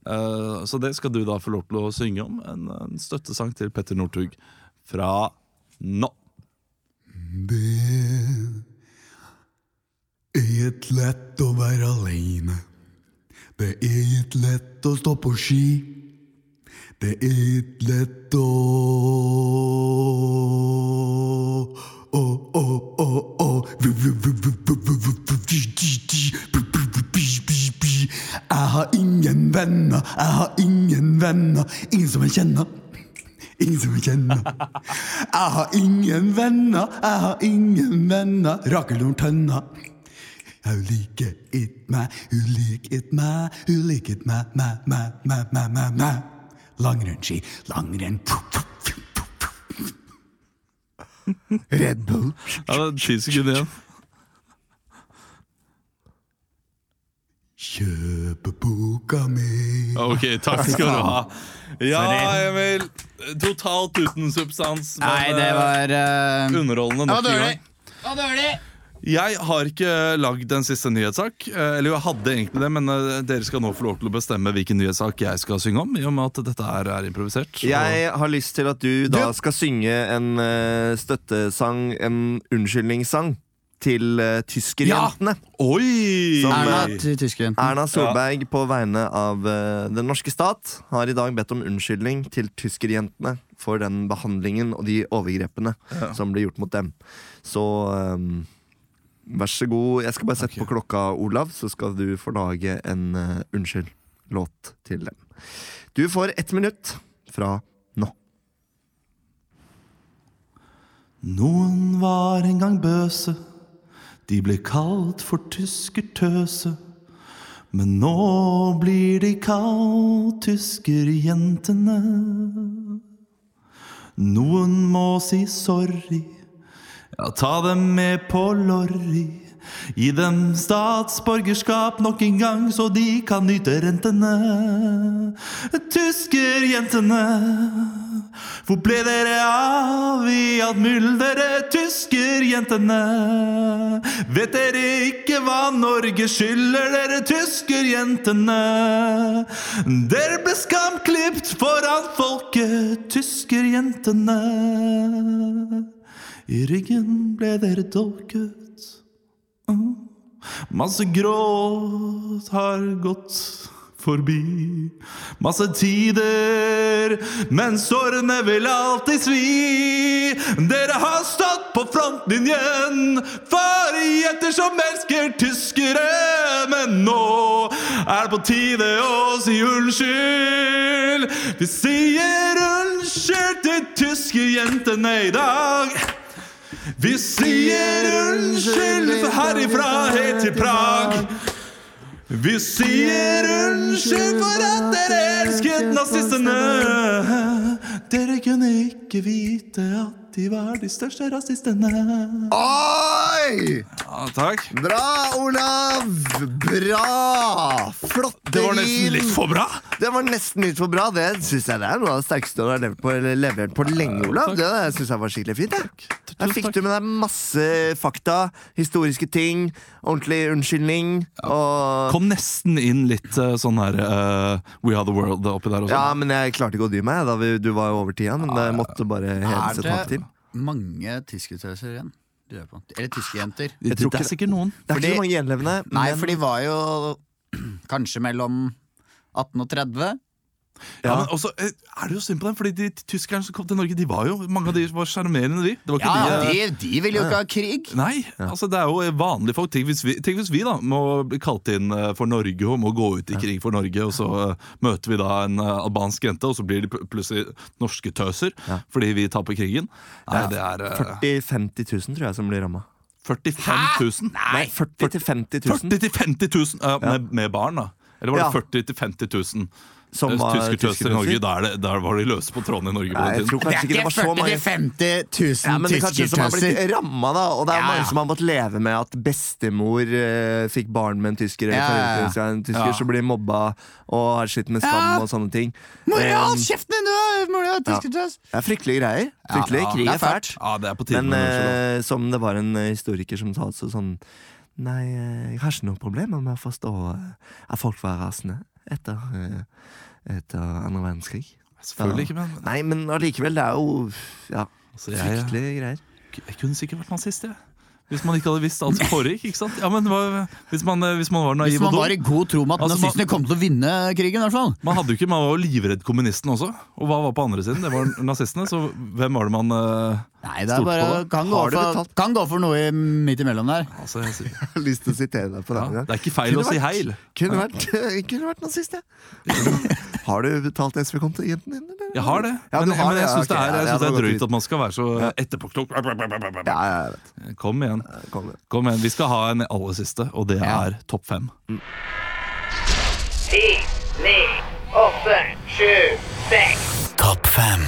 A: Uh, så det skal du da få lov til å synge om. En, en støttesang til Petter Northug fra nå.
H: Det er et lett å være alene. Det er et lett å stå på ski. Det er et lett å å, å, å, å. Jeg har ingen venner, jeg har ingen venner, ingen som jeg kjenner. Ingen som jeg kjenner. Jeg har ingen venner, jeg har ingen venner. Rakel Nortønna. Hun liker ikke meg, hun liker ikke meg, hun liker ikke meg, meg, meg, meg, meg, meg, meg. Langrennsski, langrenn. Red Bull.
A: Ja, det er ti sekunder igjen.
H: Kjøpe boka mi.
A: Ok, takk skal du ha. Ja, Emil. Totalt uten substans. men,
C: Nei, det var øh,
A: underholdende nok en gang.
C: dårlig!
A: Jeg har ikke lagd en siste nyhetssak. eh, Eller jo, jeg hadde egentlig det, men eh, dere skal nå få lov til å bestemme hvilken nyhetssak jeg skal synge om. I og med at dette her er improvisert. så-
B: Jeg har lyst til at du da skal synge en eh, støttesang, en unnskyldningssang, til eh, tyskerjentene.
A: Oi!
B: Som,
C: Erna
B: eh,
C: til tyskerjenten.
B: Erna Solberg på vegne av eh, den norske stat har i dag bedt om unnskyldning til tyskerjentene for den behandlingen og de overgrepene som ble gjort mot dem. Så eh, vær så god. Jeg skal bare sette på klokka, Olav, så skal du få lage en eh, unnskyld-låt til dem. Du får ett minutt fra nå.
A: Noen var en gang bøse, de ble kalt for tyskertøse. Men nå blir de kalt tyskerjentene. Noen må si sorry, ja, ta dem med på lorry. Gi dem statsborgerskap nok en gang, så de kan nyte rentene. Tyskerjentene. Hvor ble dere av i alt mylderet, tyskerjentene? Vet dere ikke hva Norge skylder dere, tyskerjentene? Dere ble skamklipt foran folket, tyskerjentene. I ryggen ble dere dolket. Mm. Masse gråt har gått forbi. Masse tider, men sårene vil alltid svi. Dere har stått på frontlinjen for jenter som elsker tyskere. Men nå er det på tide å si unnskyld. Vi sier unnskyld til tyskerjentene i dag. Vi sier unnskyld herifra helt til Prag. Vi sier unnskyld for at dere elsket nazistene. Dere kunne ikke vite at de var de største rasistene.
B: Oi!
A: Ja, takk.
B: Bra, Olav! Bra! Flotte
A: Det var nesten litt for bra.
B: Det var nesten litt for bra. Det synes jeg det er noe av det sterkeste du har levert på, eller levert på lenge, Olav. Det der synes jeg var skikkelig fint. Jeg. Der fikk du med deg masse fakta, historiske ting, ordentlig unnskyldning og
A: Kom nesten inn litt eh, sånn her eh, We Are The World oppi der også.
B: Ja, men jeg klarte ikke å dy meg da vi, du var jo over tida, men jeg måtte bare
C: Er
B: heve et hakk
C: det
B: til.
C: mange tyskertøser igjen? Du er på. Eller tyskerjenter?
A: jeg tror ikke det er sikkert noen.
B: Det er
C: fordi-
B: ikke så mange gjenlevende,
C: Nei,
B: men
C: for de var jo kanskje mellom 18 og 30.
A: Ja, men også, eh, er det jo synd på dem, fordi de tyskerne som kom til Norge, de var jo, mange av de var sjarmerende, de. Det var
C: Ja,
A: ikke
C: ja,
A: de, eh,
C: de, de ville jo ikke ha krig!
A: Nei, altså det er jo vanlige folk. Tenk hvis vi, tenk hvis vi da må bli kalt inn eh, for Norge og må gå ut i krig for Norge, og så eh, møter vi da en eh, albansk jente, og så blir de pl- plutselig norske tøser fordi vi taper krigen. Nei, det er eh,
B: 40 50 000 tror jeg som blir ramma.
A: 45 000.
B: Nei, 40 til 50 000
A: 40 til 50 000 eh, med, med barn, da. Eller var det
B: Ja.
A: 40 til 50 000
B: som
A: eh,
B: var
A: tyske tøser i Norge?
B: tyskertøser.
A: Da er det, der var de løse på tråden i Norge på
B: Nei, jeg
A: den
B: tror
A: tiden.
B: kanskje ikke det var så mange.
C: 50
B: Ja,
C: 000
B: men det er kanskje som har blitt ramma, da. Og det er
C: Ja, ja.
B: mange som har måttet leve med at bestemor eh, fikk barn med en tysker, eller
C: Ja, ja, ja.
B: foreldre til en tysker,
A: Ja.
B: så blir mobba og har slitt med skam og sånne ting.
C: Moral,
B: Eh,
C: kjeften din, du! Moral, tyskertøs!
B: det er frykkelige greier. Fryktelig.
C: ja,
B: Krig
C: det er
B: er fælt.
A: Ja, det er på tide
B: Men
A: med en unnskyldning.
B: eh, som det var en eh, historiker som sa så sånn Nei, eh, jeg har ikke noe problemer med å forstå eh, at folk var rasende etter, eh, etter andre verdenskrig.
A: Selvfølgelig ikke, men
B: Nei, men allikevel, det er jo ja,
A: altså, jeg, jeg,
B: fryktelige greier.
A: jeg kunne sikkert vært nazist, jeg. Hvis man ikke hadde visst alt som foregikk. ikke sant? Ja, men hva- hvis, man, eh, hvis man var naiv
C: Hvis man
A: og
C: var i
A: dum.
C: god tro med at
A: Altså, man-
C: nazistene kom til å vinne krigen, i hvert fall.
A: Man hadde jo ikke, man var jo livredd kommunisten også. Og hva var på andre siden? Det var nazistene. Så hvem var det man eh,
C: Nei, det
A: Stolt på
C: er bare,
A: det.
C: kan, gå
B: Har du
C: for,
B: betalt?
C: kan gå for noe i- midt imellom der.
A: altså, jeg, sier-
B: Jeg har lyst til å sitere deg på det.
A: ja,
B: Ja,
A: Det er ikke feil å si heil.
B: Kunne vært, kunne vært nazist, jeg. Har du betalt SV-konto, jenten din? Eller?
A: Jeg har det.
B: Ja,
A: men,
B: du har
A: men
B: det,
A: jeg
B: ja,
A: syns det
B: ok,
A: er,
B: ja,
A: jeg synes
B: det
A: det
B: hadde
A: er
B: gått
A: drøyt at man skal være så etterpåklok.
B: Ja, ja, jeg vet.
A: Kom igjen.
B: Kom igjen.
A: Kom igjen. Vi skal ha en aller siste, og det
C: Ja.
A: er topp fem.
I: ti, ni, åtte, sju, seks.
C: Topp fem.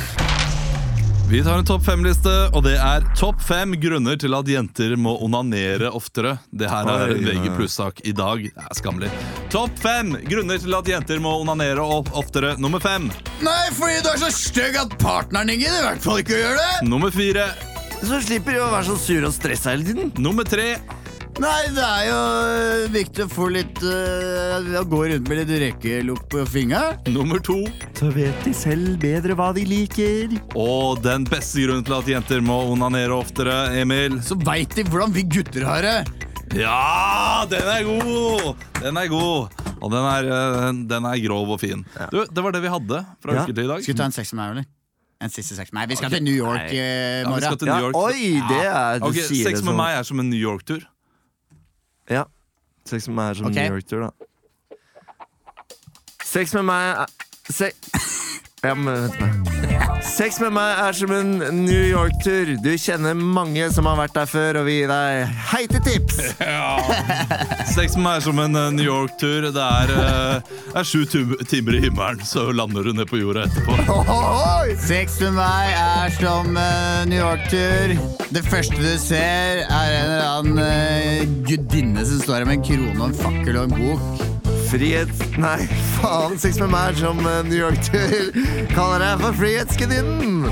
A: Vi tar en topp fem-liste, og det er topp fem grunner til at jenter må onanere oftere. Det her er en
B: Oi,
A: VG
B: nei.
A: pluss-sak i dag. Det er skammelig. Topp fem grunner til at jenter må onanere of- oftere. Nummer fem.
C: Nei, fordi du er så stygg at partneren din gidder i hvert fall ikke å gjøre det!
A: Nummer fire.
B: Så slipper du å være så sur og stressa hele tiden.
A: Nummer tre.
C: Nei, det er jo øh, viktig å få litt øh, Å gå rundt med litt røykelukt på fingeren.
A: Nummer to.
B: Så vet de selv bedre hva de liker.
A: Og den beste grunnen til at jenter må onanere oftere, Emil.
C: Så veit de hvordan vi gutter har det.
A: Ja, den er god! Den er god. Og den er, eh, den- den er grov og fin. Du, det var det vi hadde fra
B: Ja.
A: uke til i dag.
C: Skal vi ta en seks med meg, eller? En siste seks med meg. Vi skal til New York eh. i
A: Ja, vi skal
C: morgen.
A: til
B: Ja,
A: New York.
B: oi, det er du
A: Ok,
B: sier
A: Sex
B: det
A: med
B: som-
A: meg er som en New York-tur.
B: Ja. Sex med meg er som
C: Ok.
B: New York-tur, da. Sex med meg er se ja, men, vent nå. Sex med meg er som en New York-tur. Du kjenner mange som har vært der før, og vi gir deg heite tips.
A: Sex med meg er som en eh, New York-tur. Det er, eh, er sju tu- timer i himmelen, så lander du ned på jorda etterpå.
B: Ohoi!
C: Sex med meg er som eh, New York-tur. Det første du ser, er en eller annen eh, gudinne som står her med en krone og en fakkel og en bok.
B: Frihet Nei, faen. Sex med meg er som en New York-tur. Kaller deg for Frihetsgudinnen.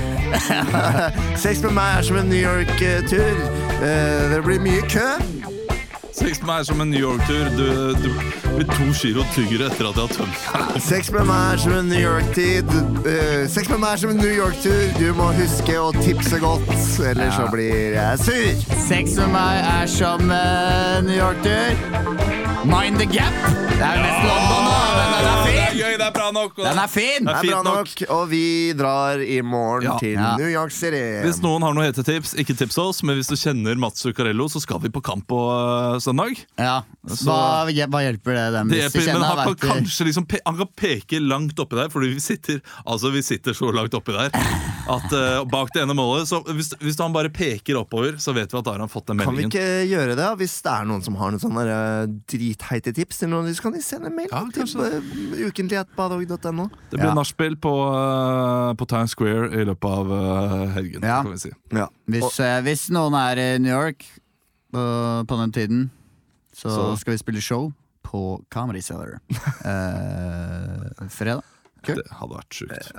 B: Sex med meg er som en New York-tur. Eh, det blir mye kø.
A: Sex med meg er som en New York-tur. Du, du blir to kilo tyngre etter at jeg har tømt meg.
B: Sex med meg er som en New York-tid. Eh, sex med meg er som en New York-tur. Du må huske å tipse godt, ellers så blir jeg sur.
C: Sex med meg er som eh, New York-tur. Mind the gap. Det er jo mest London, da, men den er fin.
A: er bra nok. og
C: Den
A: det-
C: er
A: Det
C: fin!
B: Det er bra
A: fint nok.
B: nok, og vi drar i morgen
A: Ja.
B: til
C: Ja.
B: New York City.
A: Hvis noen har noen hetetips, ikke tips oss, men hvis du kjenner Mats Zuccarello, så skal vi på kamp på øh, søndag.
C: Ja, hva, hva hjelper det dem
A: Det
C: hvis de
A: er- men
C: kjenner
A: han kan
C: vet de-
A: kanskje liksom pe han kan peke langt oppi der, fordi vi sitter, altså vi sitter så langt oppi der at øh, bak det ene målet så hvis, hvis han bare peker oppover, så vet vi at da har han fått den
B: Kan vi
A: meldingen.
B: ikke gjøre det? da? Hvis det er noen som har noen sånne eh, dritheite tips, til noen, så kan de sende en mail
A: Ja,
B: til
A: kanskje.
B: eh, ukentlig.badehog.no.
A: Det blir
C: Ja.
A: nachspiel på, øh, på Times Square i løpet av øh, helgen.
C: Ja.
A: kan vi si.
B: Ja.
C: Hvis, eh, hvis noen er i New York på- på den tiden, så,
A: Så-
C: skal vi spille show på Comedy Cellar eh, fredag.
A: Det hadde vært sjukt.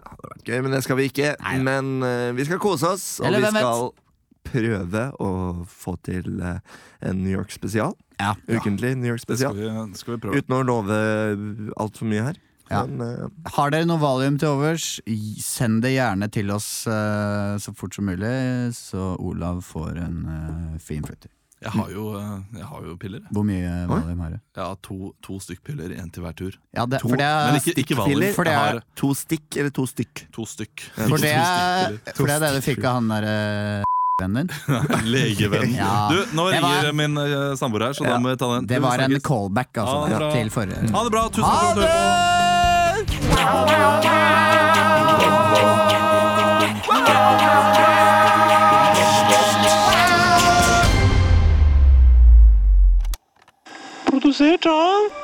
B: Gøy, men det skal vi ikke. Men eh, vi skal kose oss, og
C: Eller
B: vi
C: hvem vet?
B: skal prøve å få til eh, en New York spesial.
C: Ja.
B: Ukentlig New York
A: Det skal
B: spesial.
A: vi, skal vi prøve.
B: Uten å love altfor mye her.
C: Ja.
B: Men eh,
C: Har dere noe valium til overs, gi- send det gjerne til oss eh, så fort som mulig, så Olav får en eh, fin flytter.
A: Jeg har jo, øh, jeg har jo piller. jeg.
C: Hvor mye valium har du?
A: Jeg har to, to stykk piller, én til hver tur.
C: Ja, det,
B: To,
C: for det er,
A: Men ikke, ikke Valium.
B: Stikkpiller?
C: For det
A: Jeg
C: er-
A: har
B: to stikk eller to stykk?
A: to stykk.
C: for det,
A: To
C: er,
A: stykker.
C: for det er det du fikk av han der eh, vennen din.
A: Legevenn.
C: Ja.
A: Du, nå
C: Det var-
A: ringer min eh, samboer her, så da må vi ta den.
C: Det
A: Vi
C: var en
A: snakkes.
C: callback altså,
A: Ha det bra.
C: til forrige.
A: Ha det bra. Tusen takk for at du hørte på.
F: Produsert av